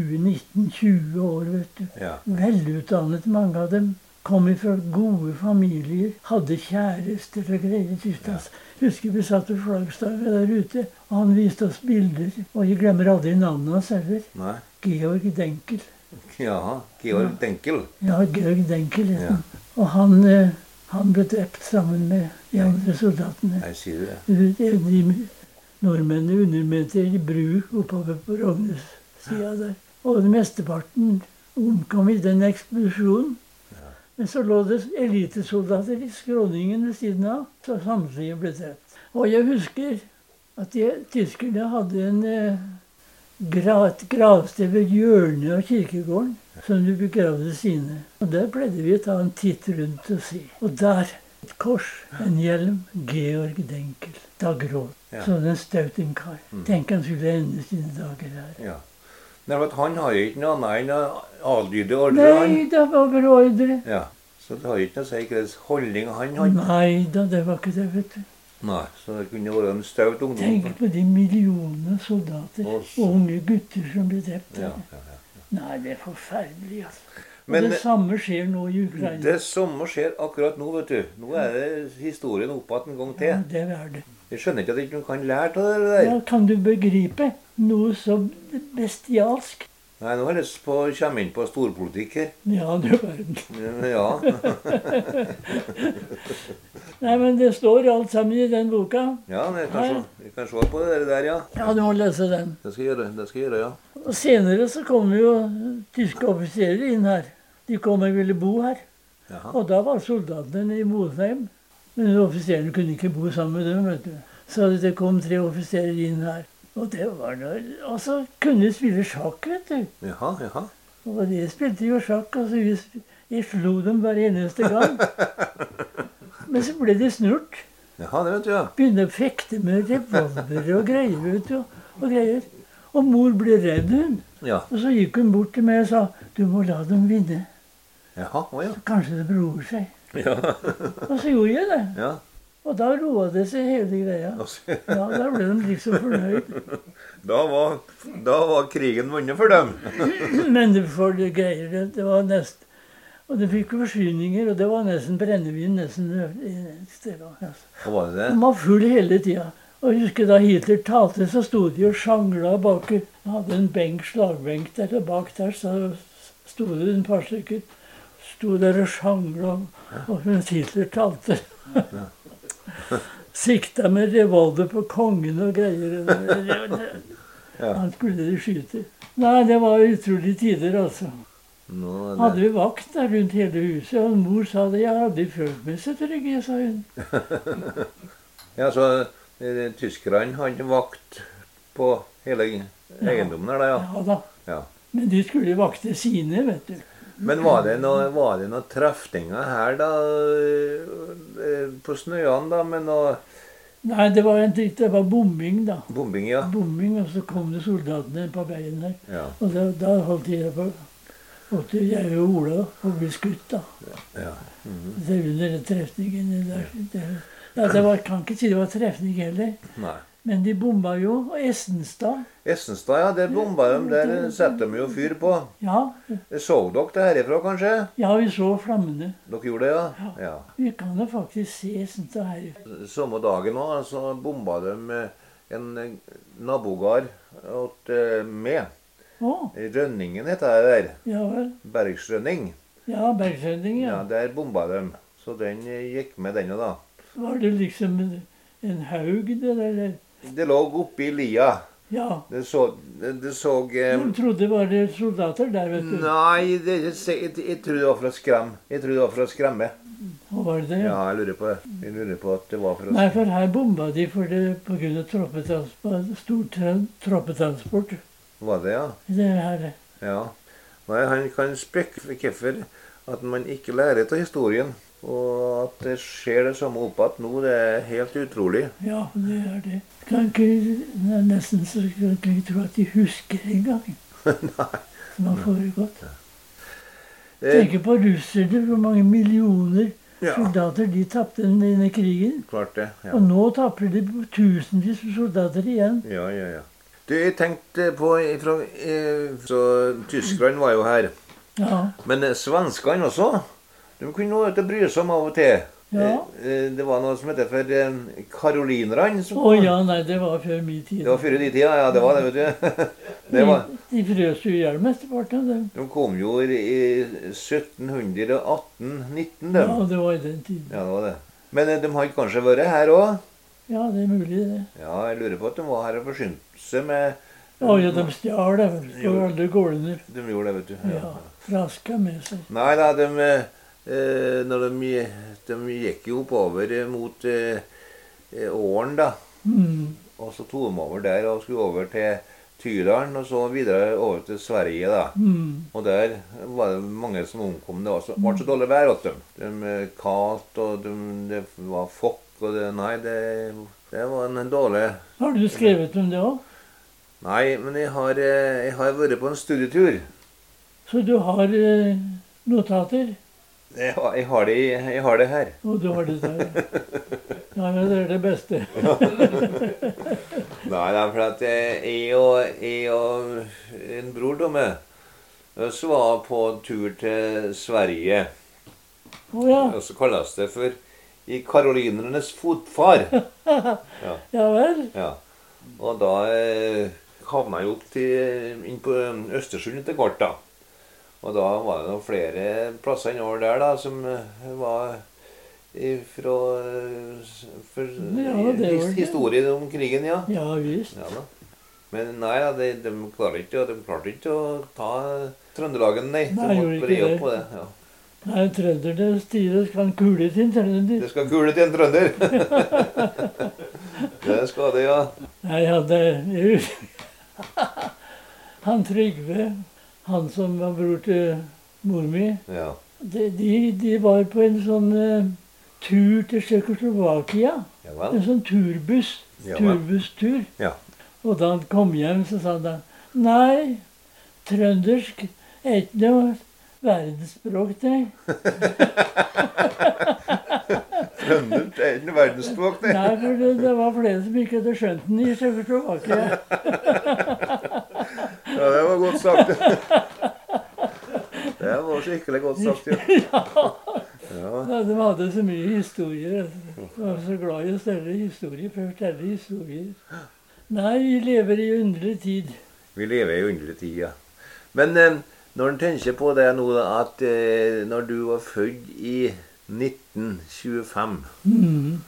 Speaker 2: 20-19-20 år, vet du.
Speaker 1: ja.
Speaker 2: Velutdannet mange av dem. Kom fra gode familier. Hadde kjærester og greier. Tyskland. altså. Husker vi satt ved flaggstanga der ute, og han viste oss bilder. Og jeg glemmer aldri navnet hans heller.
Speaker 1: Nei.
Speaker 2: Georg Denkel.
Speaker 1: Jaha. Georg Denkel.
Speaker 2: Ja, Georg Denkel het han. Og han, eh, han ble drept sammen med de andre soldatene.
Speaker 1: Jeg sier du det.
Speaker 2: De nordmennene underminerte ei bru oppover på Rognes-sida der. Og den mesteparten omkom i den eksplosjonen. Men så lå det elitesoldater i skråningen ved siden av, så samtlige ble drept. Og jeg husker at de, tyskerne hadde en eh, gra, et gravsted ved hjørnet av kirkegården som de begravde sine. Og der pleide vi å ta en titt rundt og se. Og der et kors, en hjelm, Georg Denkel. Da gråt
Speaker 1: Ja. Mm.
Speaker 2: Sånn en staut en kar. Tenk han skulle ende sine dager der.
Speaker 1: Ja. Nei, for at han har jo ikke noe annet enn å adlyde ordre. han.
Speaker 2: Nei da, hva var ordre?
Speaker 1: Ja. Så det har jo ikke noe å si hvilken holdning han hadde.
Speaker 2: Nei da, det var ikke det, vet du.
Speaker 1: Nei, Så det kunne vært en staut ungdom.
Speaker 2: Tenk på de millionene soldater
Speaker 1: Og
Speaker 2: og
Speaker 1: så-
Speaker 2: unge gutter som blir drept.
Speaker 1: Ja,
Speaker 2: der.
Speaker 1: ja, ja.
Speaker 2: Nei, det er forferdelig, altså.
Speaker 1: Men
Speaker 2: og det samme skjer nå i Ukraina.
Speaker 1: det samme skjer akkurat nå, vet du. Nå er det historien opp igjen en gang
Speaker 2: Ja,
Speaker 1: til.
Speaker 2: det er det.
Speaker 1: Jeg skjønner ikke at ikke noen kan lære av det der.
Speaker 2: Ja, kan du begripe noe så bestialsk?
Speaker 1: Nei, nå har jeg lyst på å komme inn på storpolitikk her.
Speaker 2: Ja, du verden.
Speaker 1: Ja.
Speaker 2: Nei, men det står alt sammen i den boka.
Speaker 1: ja jeg, kan se, jeg kan se på det der, ja.
Speaker 2: Ja, du må lese den.
Speaker 1: Det skal jeg gjøre, det skal jeg gjøre ja.
Speaker 2: Og senere så kommer jo tyske offiserer inn her. De kom og ville bo her.
Speaker 1: Jaha.
Speaker 2: Og da var soldatene i Motheim. Men offiserene kunne ikke bo sammen med dem, vet du. Så det kom tre offiserer inn her. Og det var noe... Og så kunne de spille sjakk, vet du.
Speaker 1: Jaha, jaha.
Speaker 2: Og de spilte jo sjakk, og så vi, sp- jeg slo dem hver eneste gang. Men så ble de snurt.
Speaker 1: Jaha, det vet du, ja.
Speaker 2: Begynte å fekte med revolver og greier. vet du, Og greier. Og mor ble redd, hun.
Speaker 1: Ja.
Speaker 2: Og så gikk hun bort til meg og sa du må la dem vinne.
Speaker 1: Jaha, å ja.
Speaker 2: Kanskje det roer seg.
Speaker 1: Ja.
Speaker 2: Og så gjorde jeg det.
Speaker 1: ja.
Speaker 2: Og da roa det seg hele greia.
Speaker 1: Altså,
Speaker 2: Ja, Da ble de liksom fornøyd.
Speaker 1: da, var, da var krigen vunnet for dem.
Speaker 2: Men det for det greier det, det var nest Og de fikk forsyninger, og det var nesten brennevin nesten et sted. Altså.
Speaker 1: Hva var det
Speaker 2: De
Speaker 1: det?
Speaker 2: var full hele tida. Og jeg husker da Hitler talte, så sto de og sjangla bak Han hadde en benk, slagbenk der, og bak der så sto det en par stykker. Sto der og sjangla og mens Hitler talte. Sikta med revolver på kongen og greier. og det- det- det-
Speaker 1: Ja.
Speaker 2: Han skulle de skyte. Nei, det var utrolige tider, altså.
Speaker 1: Nå er
Speaker 2: Hadde
Speaker 1: det.
Speaker 2: vi vakt der rundt hele huset, og mor sa det. Jeg hadde følt meg så trygg, jeg, sa hun.
Speaker 1: Ja, så eh, tyskerne hadde vakt på hele eiendommen her, da, ja.
Speaker 2: Ja da.
Speaker 1: ja.
Speaker 2: Men de skulle jo vakte sine, vet du.
Speaker 1: Men var det noe- var det noen trefninger her, da? eh, På Snøan, da, med noe
Speaker 2: Nei, det var en dritt, det var bombing, da.
Speaker 1: bombing, ja?
Speaker 2: Bombing, og så kom det soldatene på veien her.
Speaker 1: Ja.
Speaker 2: Og da, da holdt jeg på holdt jeg og Ola på å bli skutt, da.
Speaker 1: ja. Mhm.
Speaker 2: Det er under den trefningen der. Det, ja, det var, kan ikke si det var trefning heller.
Speaker 1: Nei.
Speaker 2: Men de bomba jo. Og Essenstad.
Speaker 1: Essenstad, ja. Der bomba de. Der setter de jo fyr på. Eh,
Speaker 2: Ja,
Speaker 1: Så dere det herifra, kanskje?
Speaker 2: ja, vi så flammene.
Speaker 1: Dere gjorde det, ja? ja.
Speaker 2: Vi kan jo faktisk se Essenstad her.
Speaker 1: Samme dagen òg så bomba de eh, en eh, nabogard åt eh, med.
Speaker 2: Å,
Speaker 1: Rønningen heter det der.
Speaker 2: ja vel.
Speaker 1: Bergsrønning.
Speaker 2: Ja, Bergsending,
Speaker 1: Ja,
Speaker 2: ja.
Speaker 1: der bomba de. Så den eh, gikk med, den òg, da.
Speaker 2: Var det liksom en, en haug, det der?
Speaker 1: Det lå oppi lia.
Speaker 2: Ja.
Speaker 1: Det så Det, det så eh,
Speaker 2: De trodde det var det soldater der, vet du.
Speaker 1: Nei, det, jeg, jeg, jeg tror det var for å skremme. Jeg tror det var for å skremme.
Speaker 2: Og var det det?
Speaker 1: Ja, jeg lurer på det. Jeg lurer på at det var for å
Speaker 2: Nei, for her bomba de for det pga. troppetransport. Stor tra- troppetransport.
Speaker 1: Var det, ja?
Speaker 2: Det her.
Speaker 1: Ja. Nei, han kan spekke for hvorfor at man ikke lærer av historien. Og at det skjer det samme opp igjen nå, det er helt utrolig.
Speaker 2: Ja, det er det. Kan ikke, nei, nesten så kan ikke jeg tro at de husker engang. Som har foregått.
Speaker 1: Eh, Eh,
Speaker 2: Tenk på russerne, hvor mange millioner
Speaker 1: Ja.
Speaker 2: soldater de tapte under krigen.
Speaker 1: klart det. Ja.
Speaker 2: Og nå taper de tusenvis av soldater igjen.
Speaker 1: Ja, ja, ja. Du, jeg tenkte på ifra, eh, Så Tyskland var jo her.
Speaker 2: Ja,
Speaker 1: Men eh, svenskene også, de kunne noe til å bry seg om av og til.
Speaker 2: Ja.
Speaker 1: Eh, eh, det var noe som heter for eh, karolinerne. som-
Speaker 2: Å ja, nei, det var før min tid.
Speaker 1: Det var før i de tida, ja. Det var det, vet du. Det var,
Speaker 2: De, de frøs jo i hjel mesteparten av dem.
Speaker 1: de kom jo i i 1718-19, de.
Speaker 2: Ja, det var i den tiden.
Speaker 1: Ja, det var det. Men eh, de hadde kanskje vært her òg?
Speaker 2: Ja, det er mulig, det.
Speaker 1: Ja, jeg lurer på at de var her og forsynte seg med
Speaker 2: Å ja, de stjal det. Og
Speaker 1: Jo.
Speaker 2: alle gårdene
Speaker 1: De gjorde det, vet du.
Speaker 2: ja, traska med seg.
Speaker 1: Nei da, de, eh, når de, de gikk jo oppover eh, mot eh, eh, åren, da.
Speaker 2: Mm.
Speaker 1: Og så tok de over der og skulle over til Tydalen, og så videre over til Sverige, da.
Speaker 2: Mm.
Speaker 1: Og der var det mange som omkom. Det var så, var så dårlig vær hos dem. De eh, kalt, og de, det var fokk, og det Nei, det, det var en dårlig
Speaker 2: Har du skrevet om det òg?
Speaker 1: Nei, men jeg har, eh, jeg har vært på en studietur.
Speaker 2: Så du har eh, notater?
Speaker 1: Jeg har, jeg har, det, i- jeg har det her.
Speaker 2: Og du har det der. Ja, men det er det beste.
Speaker 1: Nei, det er for at jeg jeg og, jeg og en bror da med oss var på tur til Sverige.
Speaker 2: Å ja.
Speaker 1: Og så kalles det for I karolinernes fotfar.
Speaker 2: Ja vel.
Speaker 1: Ja. Og da eh, havna jeg opp til, eh, inn på Østersund etter hvert, da. Og da var det noen flere plasser innover der da, som eh, var fra for,
Speaker 2: Ja, det var det.
Speaker 1: Historien om krigen, ja.
Speaker 2: Ja visst.
Speaker 1: Ja da. Men nei da, de, de klarer ikke, de klarte ikke å ta Trøndelagen, nei. De
Speaker 2: Nei,
Speaker 1: måtte
Speaker 2: gjorde ikke
Speaker 1: bre opp
Speaker 2: det.
Speaker 1: på det. Ja.
Speaker 2: Nei, trønderne styrer kan kule sin trønder.
Speaker 1: Det skal kule til en trønder! det skal det, ja.
Speaker 2: Nei, han der Han Trygve, han som var bror til mor mi,
Speaker 1: ja.
Speaker 2: de, de, de var på en sånn eh, tur til Tsjekkoslovakia.
Speaker 1: Ja
Speaker 2: En
Speaker 1: vel.
Speaker 2: sånn turbuss.
Speaker 1: Ja, vel.
Speaker 2: Turbusstur.
Speaker 1: Ja.
Speaker 2: Og da han kom hjem, så sa han da Nei, trøndersk er ikke noe verdensspråk, det.
Speaker 1: Trønder det er ikke noe verdensspråk, det.
Speaker 2: Nei, for det, det var flere som ikke hadde skjønt den i Tsjekkoslovakia.
Speaker 1: Ja, det var godt sagt. Det var skikkelig godt sagt, ja. ja.
Speaker 2: Ja, De hadde så mye historier. altså. De var så glad i å stelle historier. for å fortelle historier. Nei, vi lever i underlig tid.
Speaker 1: Vi lever i underlige tider. Men eh, når en tenker på det nå, da, at eh, når du var født i 1925,
Speaker 2: Mm.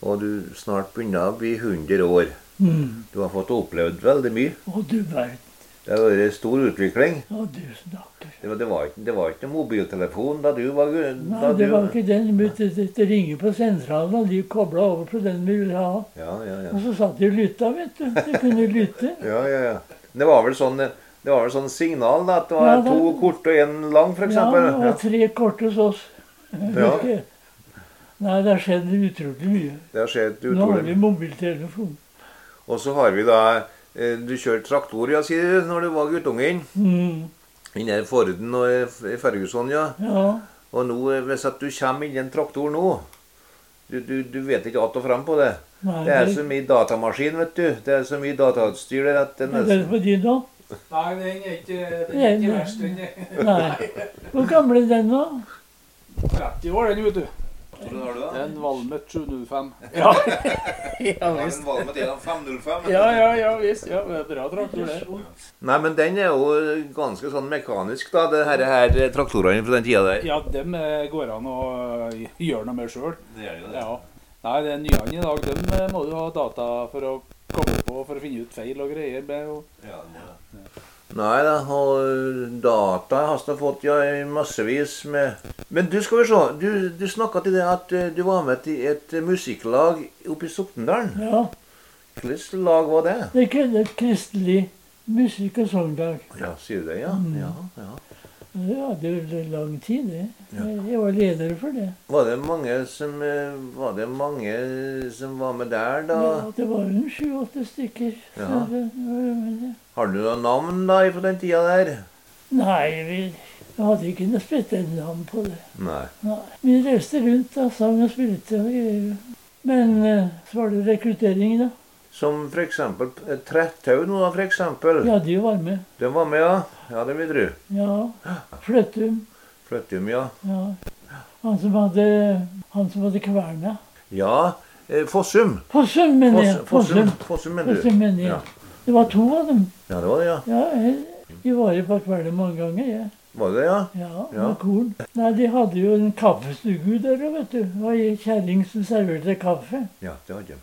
Speaker 1: og du snart begynner å bli 100 år
Speaker 2: Mm.
Speaker 1: Du har fått opplevd veldig mye.
Speaker 2: Å, du verden.
Speaker 1: Det har vært stor utvikling.
Speaker 2: Å, du snakker.
Speaker 1: Det var, det var, ikke, det var ikke noen mobiltelefon da du var gu-
Speaker 2: Nei,
Speaker 1: da
Speaker 2: det
Speaker 1: du-
Speaker 2: var ikke den. Vi måtte måtte ringe på sentralen, og de kobla over på den vi ville ha.
Speaker 1: Ja, ja, ja.
Speaker 2: Og så satt de og lytta, vet du. De kunne lytte.
Speaker 1: ja, ja, ja. Men Det var vel sånn eh, det var vel sånn signal da, at det var
Speaker 2: Ja, det-
Speaker 1: to korte og én lang, f.eks.?
Speaker 2: Ja, det
Speaker 1: Ja,
Speaker 2: var tre kort hos oss.
Speaker 1: Ja.
Speaker 2: Nei, det har skjedd utrolig mye.
Speaker 1: det har skjedd
Speaker 2: Nå har
Speaker 1: utrolig
Speaker 2: vi mobiltelefon.
Speaker 1: Og så har vi da eh, Du kjørte traktor, ja, sier du, når du var guttungen.
Speaker 2: Mm,
Speaker 1: Inn i Forden og i F- i Ferguson, ja.
Speaker 2: ja.
Speaker 1: Og nå, eh, hvis at du kommer inn i en traktor nå du, du, du vet ikke att og fram på det.
Speaker 2: Nei,
Speaker 1: Det er så mye datamaskin, vet du. Det er så mye datautstyr der at det
Speaker 2: er det
Speaker 1: nesten
Speaker 2: på din nå?
Speaker 3: Nei, den er ikke, den
Speaker 2: Nei,
Speaker 3: er ikke
Speaker 2: nei.
Speaker 3: verst, den. er
Speaker 2: Nei. Hvor gammel er den nå?
Speaker 3: 30 år, den, vet du.
Speaker 1: Har du
Speaker 3: Det er
Speaker 1: da?
Speaker 3: en Valmet 705. Ja, ja
Speaker 1: Har
Speaker 3: visst.
Speaker 1: den valmet en av 505?
Speaker 3: Ja, ja, ja visst. Ja, det er bra traktor, det.
Speaker 1: Nei, men den er jo ganske sånn mekanisk, da. Det her, her eh, traktorene fra den tida der.
Speaker 3: Ja, dem eh, går an å eh, gjøre noe med sjøl.
Speaker 1: Det er jo det.
Speaker 3: Ja. Nei, det er nyene i dag. Dem eh, må du ha data for å komme på for å finne ut feil og greier. med, og-
Speaker 1: Nei da, og data har jeg fått ja, i massevis med Men du skal vi se, du, du snakka til det at eh, du var med til et musikklag oppe i Sokndalen.
Speaker 2: Ja.
Speaker 1: Hvilket lag var det?
Speaker 2: Det er ikke- det er kristelig musikk- og sangdag.
Speaker 1: Ja, sier du det, ja?
Speaker 2: Mm.
Speaker 1: ja, ja.
Speaker 2: Det hadde vel lang tid, det. Jeg jeg var leder for det.
Speaker 1: Var det mange som eh, Var det mange som var med der, da?
Speaker 2: Ja, det var jo sju-åtte stykker.
Speaker 1: Ja.
Speaker 2: Så det var jo- men det-
Speaker 1: Har du noe navn da fra den tida der?
Speaker 2: Nei, vi Jeg hadde ikke noe spyttenavn på det.
Speaker 1: Nei.
Speaker 2: Nei. Vi reiste rundt og sang og spilte. og greier. Men eh, så var det rekruttering, da.
Speaker 1: Som for eksempel eh, Tretthaug nå, da, for eksempel.
Speaker 2: Ja, de var med.
Speaker 1: Den var med, ja. Ja, det vil jeg tro.
Speaker 2: Ja. Fløttum.
Speaker 1: Fløttum, ja.
Speaker 2: Ja. Han som hadde, han som hadde kverna.
Speaker 1: Ja, eh, Fossum.
Speaker 2: Fossum, mener jeg.
Speaker 1: Foss- Fossum,
Speaker 2: Fossum.
Speaker 1: Fossum mener du?
Speaker 2: Fossum, mener
Speaker 1: Ja.
Speaker 2: jeg. Det var to av dem.
Speaker 1: ja, det var det, ja.
Speaker 2: Ja, jeg- de var jo på kvelden mange ganger, jeg.
Speaker 1: Var det det, ja?
Speaker 2: Ja,
Speaker 1: Ja.
Speaker 2: med korn. Nei, de hadde jo en kaffestue der, vet du. Det var ei kjerring som serverte kaffe.
Speaker 1: Ja, det hadde jeg.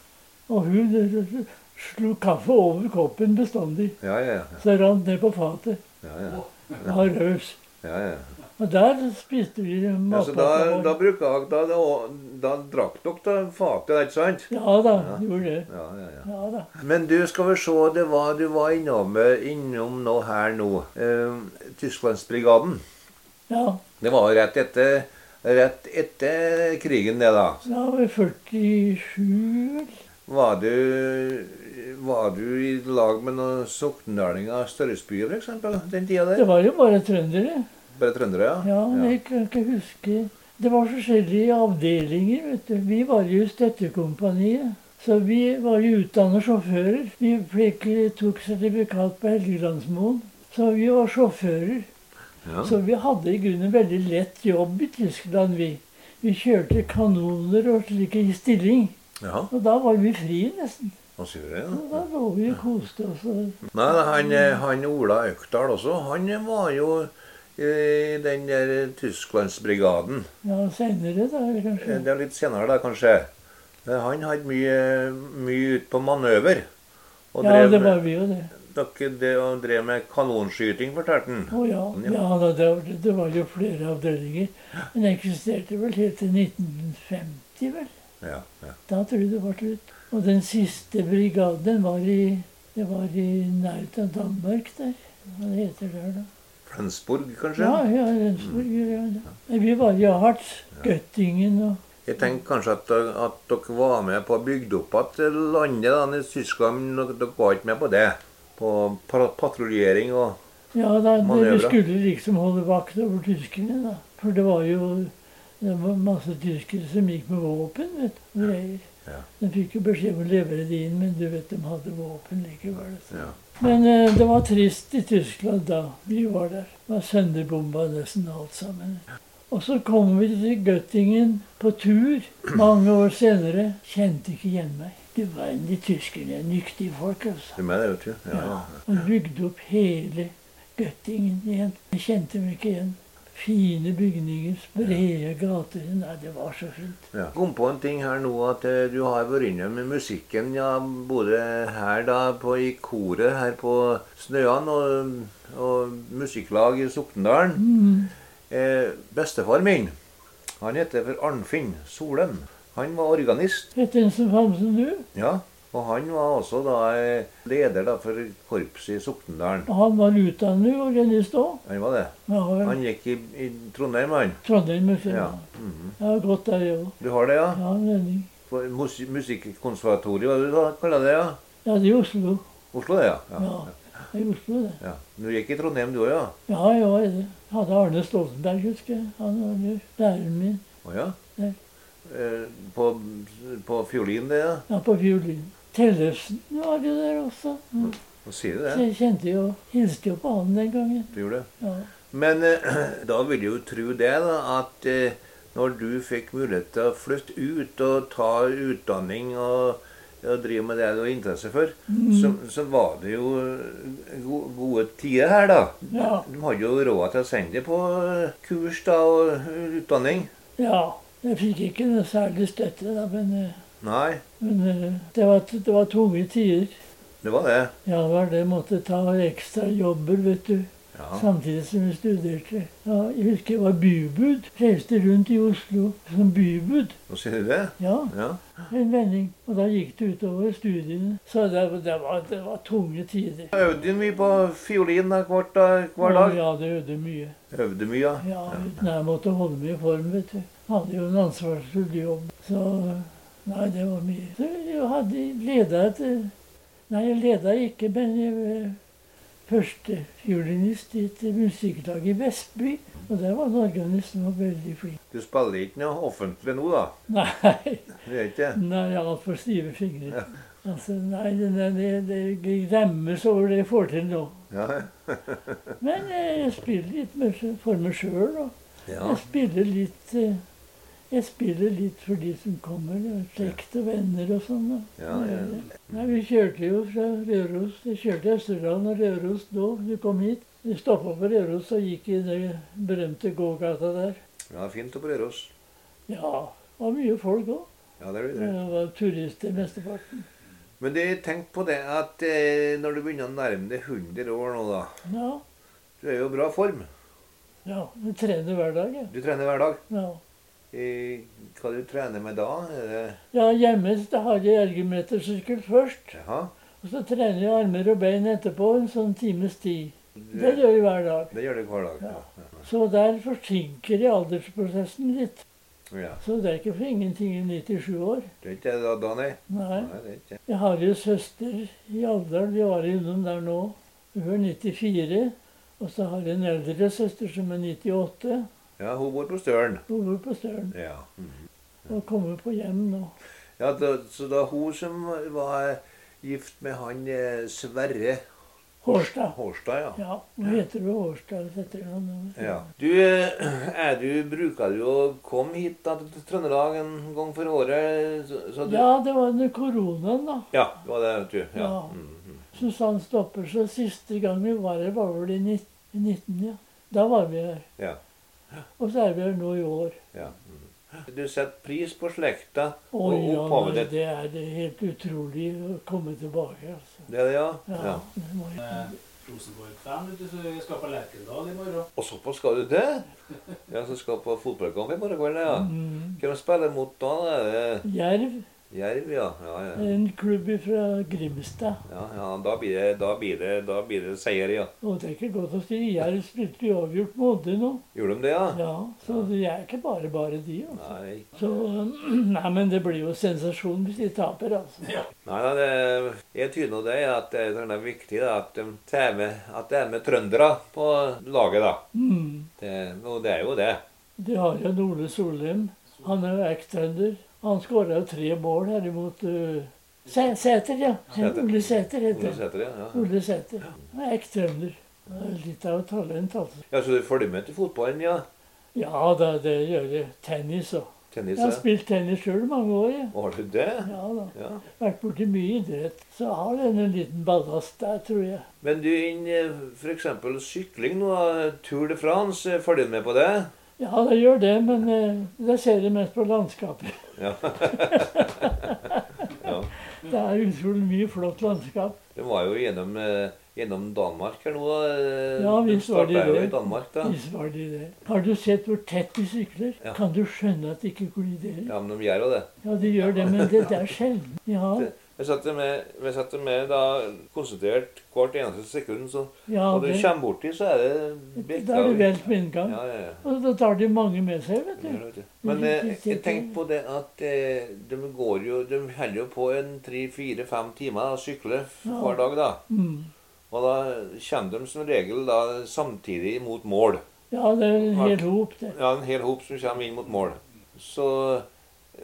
Speaker 2: Og hun der slo kaffe over koppen bestandig.
Speaker 1: Ja, ja, ja.
Speaker 2: Så rant ned på fatet.
Speaker 1: ja, ja,
Speaker 2: Det var raus.
Speaker 1: ja, ja.
Speaker 2: Og der spiste vi
Speaker 1: ja så da,
Speaker 2: matpakke.
Speaker 1: da bruker jeg, da, da, da drakk dere da fatet, ikke sant?
Speaker 2: Ja da, gjorde det.
Speaker 1: Ja, ja, ja.
Speaker 2: Ja da.
Speaker 1: Men du, skal vi se, det var, du var innom, eh, innom nå her nå. Eh, Tysklandsbrigaden.
Speaker 2: Ja,
Speaker 1: Det var rett etter, rett etter krigen det da.
Speaker 2: da var vi 47 vel?
Speaker 1: Var du, var du i lag med noen soknedalinger av Størresby for eksempel den tida
Speaker 2: Det
Speaker 1: der?
Speaker 2: var jo bare trøndere.
Speaker 1: Bare trøndere, ja?
Speaker 2: Ja, men jeg kan ikke huske Det var forskjellige avdelinger, vet du. Vi var jo i støttekompaniet. Så vi var jo utdannet sjåfører. Vi fikk, tok sertifikat på Helgelandsmoen. Så vi var sjåfører.
Speaker 1: Ja.
Speaker 2: Så vi hadde i grunnen veldig lett jobb i Tyskland, vi. Vi kjørte kanoner og slike i stilling.
Speaker 1: Ja,
Speaker 2: Og da var vi fri, nesten.
Speaker 1: hva sier du? Ja.
Speaker 2: Og da lå vi og koste oss. og-
Speaker 1: Nei, nei, han, eh, han Ola Økdal også, han var jo eh, i den der Tysklandsbrigaden.
Speaker 2: Ja, seinere, da, kanskje.
Speaker 1: Eh, Det er litt senere da, kanskje. Eh, Han hadde mye, mye ut på manøver. Og
Speaker 2: Ja,
Speaker 1: drev,
Speaker 2: det var vi jo, det.
Speaker 1: dere, det, og drev med kanonskyting, fortalte han.
Speaker 2: Å
Speaker 1: Ja.
Speaker 2: ja. ja da, det, var, det var jo flere avdelinger. Den eksisterte vel helt til 1950, vel.
Speaker 1: Ja, ja.
Speaker 2: Da tror jeg det var slutt. Og den siste brigaden den var i, det var i nærheten av Danmark der. Hva det heter det da?
Speaker 1: Flensburg, kanskje?
Speaker 2: Ja, ja, Lønsborg. Ja, ja. Nei, Vi var i Harts, Göttingen og
Speaker 1: Jeg tenker kanskje at, at dere var med på å bygge opp igjen landet da, i Tyskland, men dere, dere var ikke med på det. På pa- patruljering og
Speaker 2: Ja, da, det,
Speaker 1: Manøvre.
Speaker 2: vi skulle liksom holde vakt over tyskerne, da. For det var jo det var masse tyskere som gikk med våpen. vet du, og greier.
Speaker 1: Ja.
Speaker 2: De fikk jo beskjed om å levere det inn, men du vet, de hadde våpen likevel. Så.
Speaker 1: Ja.
Speaker 2: Men eh, det var trist i Tyskland da vi var der. Det var sønderbomba nesten alt sammen. Og så kom vi til Göttingen på tur mange år senere. Kjente ikke igjen meg. Du verden, de tyskerne er nyktige folk, altså.
Speaker 1: Du er med det, vet du. Ja, ja.
Speaker 2: Han bygde opp hele Göttingen igjen. Jeg kjente meg ikke igjen. Fine bygninger, brede gater. Nei, det var så fint.
Speaker 1: Ja. Kom på en ting her nå at eh, du har vært inne med musikken, ja, både her da på, i koret her på Snøan og, og musikklag i Sokndalen.
Speaker 2: Mm.
Speaker 1: Eh, bestefar min, han heter for Arnfinn Solem. Han var organist,
Speaker 2: Vet du hvem som kom som du?
Speaker 1: ja. Og han var også da eh, leder da for korpset i Sokndalen.
Speaker 2: Og han var utdannet organist òg.
Speaker 1: Han var det.
Speaker 2: Ja, vel.
Speaker 1: Han gikk i, i Trondheim, han.
Speaker 2: Trondheim museum.
Speaker 1: Ja. Mm-hmm.
Speaker 2: Ja. ja, godt der, jeg òg.
Speaker 1: Du har det, ja?
Speaker 2: Ja, Lønning.
Speaker 1: For mus Musikkonservatoriet, hva du sa- kaller det, ja?
Speaker 2: Ja, det er i Oslo.
Speaker 1: Oslo, det, ja.
Speaker 2: Ja, det er i Oslo, det.
Speaker 1: Ja. Du gikk i Trondheim du òg, ja?
Speaker 2: Ja, jeg var det. Jeg hadde Arne Stoltenberg, husker jeg. Han var jo læreren min.
Speaker 1: Å ja?
Speaker 2: Ja.
Speaker 1: Eh, på, på fiolin, det, ja?
Speaker 2: Ja, på fiolin. Tellefsen var jo der også. Mm.
Speaker 1: Hva sier du
Speaker 2: Så
Speaker 1: det?
Speaker 2: jeg kjente jo Hilste jo på han den gangen.
Speaker 1: Du gjorde det.
Speaker 2: Ja.
Speaker 1: Men eh, da vil jeg jo tro det, da, at eh, når du fikk mulighet til å flytte ut og ta utdanning og, og drive med det du har interesse for, så, så var det jo eh, go gode tider her, da.
Speaker 2: Ja.
Speaker 1: De hadde jo råd til å sende deg på eh, kurs da, og eh, utdanning.
Speaker 2: ja. Jeg fikk ikke noe særlig støtte, da, men, eh,
Speaker 1: Nei,
Speaker 2: men eh, det, var, det var tunge tider.
Speaker 1: det var det.
Speaker 2: Ja, det var det jeg måtte ta ekstra jobber, vet du.
Speaker 1: Ja.
Speaker 2: Samtidig som jeg studerte. Ja, jeg husker jeg var bybud. Reiste rundt i Oslo som bybud.
Speaker 1: Nå sier du det?
Speaker 2: Ja,
Speaker 1: Ja.
Speaker 2: en vending. Og da gikk det utover studiene. Så det, det, var, det var tunge tider.
Speaker 1: Øvde du mye på fiolin da, hvert dag- hver
Speaker 2: Og
Speaker 1: dag?
Speaker 2: Ja, det øvde mye.
Speaker 1: Øvde mye, ja.
Speaker 2: Ja, nei, jeg måtte holde meg i form, vet du. Hadde jo en ansvarsfull jobb, så Nei, det var mye. Så jeg hadde leda et Nei, jeg leda ikke, men jeg eh, førstefiolinist i et musikklag i Vestby. Og der var organisten var veldig flink.
Speaker 1: Du spiller ikke noe offentlig nå, da?
Speaker 2: Nei,
Speaker 1: Du gjør ikke det?
Speaker 2: nei altfor stive fingre. Altså, nei, det, det, det, det gremmes over det jeg får til nå.
Speaker 1: Ja.
Speaker 2: Men eh, jeg spiller litt med, for meg sjøl.
Speaker 1: ja.
Speaker 2: Jeg spiller litt eh, Jeg spiller litt for de som kommer. ja, Slekt og venner og sånn. da.
Speaker 1: Ja, ja.
Speaker 2: Nei, Vi kjørte jo fra Røros Jeg kjørte Østerdalen og Røros da du kom hit. Vi stoppa på Røros og gikk i den berømte gågata der.
Speaker 1: ja fint å prøve oss.
Speaker 2: Ja, det var mye folk òg.
Speaker 1: Ja, det blir det.
Speaker 2: Det var turister mesteparten.
Speaker 1: Men du, tenk på det at eh, når du begynner å nærme deg 100 år nå, da
Speaker 2: Ja,
Speaker 1: Du er jo i bra form.
Speaker 2: ja. Vi trener hver dag, ja.
Speaker 1: Du trener hver dag.
Speaker 2: ja.
Speaker 1: Eh, hva du trener med da? Er det
Speaker 2: Ja, Hjemme da har jeg ergometersykkel først.
Speaker 1: Jaha.
Speaker 2: Og så trener jeg armer og bein etterpå en sånn times tid. Det
Speaker 1: Det,
Speaker 2: gjør vi hver dag.
Speaker 1: det gjør du hver dag.
Speaker 2: Ja.
Speaker 1: Ja.
Speaker 2: Så der forsinker jeg aldersprosessen litt.
Speaker 1: ja.
Speaker 2: Så det er ikke for ingenting i 97 år.
Speaker 1: Det er ikke det da, da, nei?
Speaker 2: Nei.
Speaker 1: Nei, det er ikke det.
Speaker 2: Jeg har jo søster i alderen, vi var innom der nå. Hun er 94. Og så har jeg en eldre søster som er 98.
Speaker 1: Ja, hun bor på Støren.
Speaker 2: Hun bor på Støren
Speaker 1: Ja. Mm.
Speaker 2: og kommer på hjem nå.
Speaker 1: ja da, så da hun som var gift med han eh, Sverre
Speaker 2: Hårstad.
Speaker 1: Hårstad, ja.
Speaker 2: Ja, hun heter jo Hårstad. Heter hun nå.
Speaker 1: Ja. Du, eh, er du, bruker du å komme hit da, til Trøndelag en gang for året? Så, så du,
Speaker 2: ja, det var under koronaen, da.
Speaker 1: ja, det var det, vet du. Ja.
Speaker 2: Ja.
Speaker 1: Mm, mm.
Speaker 2: Susann stopper, så siste gang vi var her, var vel i 19, ja. Da var vi her.
Speaker 1: Ja.
Speaker 2: Og så er vi her nå i år.
Speaker 1: ja. Mm. Du setter pris på slekta
Speaker 2: Oi,
Speaker 1: og
Speaker 2: ja,
Speaker 1: opphavet
Speaker 2: nei,
Speaker 1: ditt.
Speaker 2: det er det helt utrolig å komme tilbake, altså.
Speaker 1: Det er det, ja?
Speaker 2: Ja,
Speaker 1: ja.
Speaker 2: det må jeg.
Speaker 3: Eh, Rosenborg 5, vet du, så jeg skal på Lerkendal i morgen.
Speaker 1: Og såpass skal du det? Ja, så skal på fotballkamp i morgen kveld, ja.
Speaker 2: Mm.
Speaker 1: Hvem spiller mot da? da? Er
Speaker 2: Jerv,
Speaker 1: det Jerv, ja. Ja, ja.
Speaker 2: en klubb fra Grimstad.
Speaker 1: ja, ja da, blir det, da, blir det, da blir det seier, ja.
Speaker 2: Og det er ikke godt å si. Jerv spilte jo avgjort Molde nå.
Speaker 1: Gjorde de det, ja?
Speaker 2: Ja, så de er ikke bare bare de, altså.
Speaker 1: Nei,
Speaker 2: Så, nei, men det blir jo sensasjon hvis de taper, altså.
Speaker 1: nei, nei det, jeg tyder nå det at det er sånn viktig da, at de tar med, at det er med trøndere på laget, da.
Speaker 2: Mm.
Speaker 1: Det, og det er jo det.
Speaker 2: De har jo en Ole Solheim. Han er jo ekstrender. Han skåra jo tre mål her imot eh, Sæ- Sæter, ja.
Speaker 1: Sæter.
Speaker 2: Ole Sæter heter
Speaker 1: Ole
Speaker 2: han.
Speaker 1: Sæter, ja. ja.
Speaker 2: Ole Sæter. Han er ekstrender. Han er Litt av et talent, altså.
Speaker 1: Ja, Så du følger med til fotballen, ja?
Speaker 2: Ja da, det gjør jeg. Tennis òg.
Speaker 1: Tennis,
Speaker 2: Jeg har
Speaker 1: ja.
Speaker 2: spilt tennis sjøl mange år, jeg.
Speaker 1: Og har du det?
Speaker 2: Ja da.
Speaker 1: Ja.
Speaker 2: Vært borti mye idrett. Så jeg har den en liten ballast der, tror jeg.
Speaker 1: Men du, innen f.eks. sykling, nå, eh, Tour de France, eh, følger du med på det?
Speaker 2: Ja, det gjør det, men eh, det ser jeg mest på landskapet.
Speaker 1: Ja. ja.
Speaker 2: Det er utrolig mye flott landskap.
Speaker 1: De var jo gjennom, eh, gjennom Danmark her nå. eh,
Speaker 2: Ja,
Speaker 1: de
Speaker 2: visst var de
Speaker 1: startet jo
Speaker 2: det.
Speaker 1: i Danmark, da.
Speaker 2: Visst var de det. Har du sett hvor tett de sykler?
Speaker 1: Ja.
Speaker 2: Kan du skjønne at de ikke kolliderer? Ja,
Speaker 1: Ja, men de gjør jo det.
Speaker 2: de gjør det, men det, det er sjelden. Ja,
Speaker 1: Det- Vi setter med, vi setter med da, konsentrert hvert eneste sekund, så
Speaker 2: ja
Speaker 1: når
Speaker 2: det,
Speaker 1: du kommer borti, så er det
Speaker 2: da er det velt med en gang.
Speaker 1: Ja, ja, ja.
Speaker 2: Og da tar de mange med seg,
Speaker 1: Det
Speaker 2: vet du.
Speaker 1: gjør det, vet du. Men eh, jeg tenker på det at eh, de går jo De holder jo på en tre-fire-fem timer da, og sykler
Speaker 2: Ja.
Speaker 1: hver dag, da.
Speaker 2: Mm.
Speaker 1: Og da kommer de som regel da, samtidig mot mål.
Speaker 2: Ja, det er en hel hop, det.
Speaker 1: Ja, en hel hop som kommer inn mot mål. Så,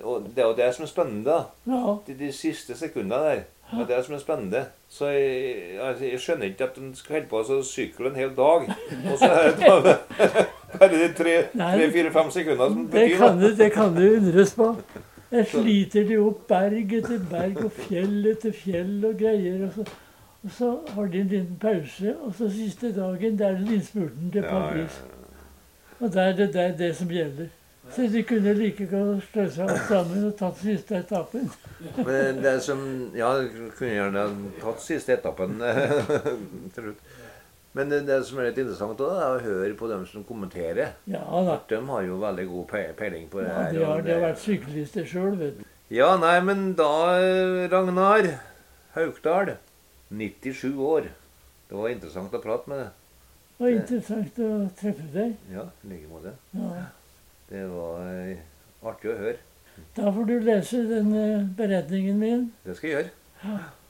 Speaker 1: og Det er jo det som er spennende. da.
Speaker 2: Ja,
Speaker 1: De, de siste sekundene der. Det er det som er spennende. Så jeg, altså, jeg skjønner ikke at de skal holde på å sykle en hel dag. Og så er det bare, bare de
Speaker 2: Nei.
Speaker 1: tre-fire-fem sekundene som
Speaker 2: det
Speaker 1: betyr
Speaker 2: kan
Speaker 1: noe.
Speaker 2: du, det kan du undres på. Der sliter de opp berg etter berg og fjell etter fjell og greier. Og så, og så har de en liten pause, og så siste dagen, der er det innspurten til
Speaker 1: Ja, ja,
Speaker 2: Paris. Og det er det, det, er det som gjelder. Så de kunne like godt slå seg opp sammen og tatt siste etappen.
Speaker 1: Men det som Ja, jeg kunne gjerne tatt siste etappen til slutt. Men det, det som er litt interessant, også, er å høre på dem som kommenterer.
Speaker 2: Ja da.
Speaker 1: De har jo veldig god pe- peiling på det
Speaker 2: Ja,
Speaker 1: her.
Speaker 2: de har,
Speaker 1: og
Speaker 2: de har vært syklister sjøl, vet du.
Speaker 1: Ja, nei, men da, eh, Ragnar Haukdal, 97 år. Det var interessant å prate med deg.
Speaker 2: Det var interessant å treffe deg.
Speaker 1: Ja, i like måte.
Speaker 2: Ja.
Speaker 1: Det var eh, artig å høre.
Speaker 2: Da får du lese den eh, beretningen min.
Speaker 1: Det skal jeg gjøre.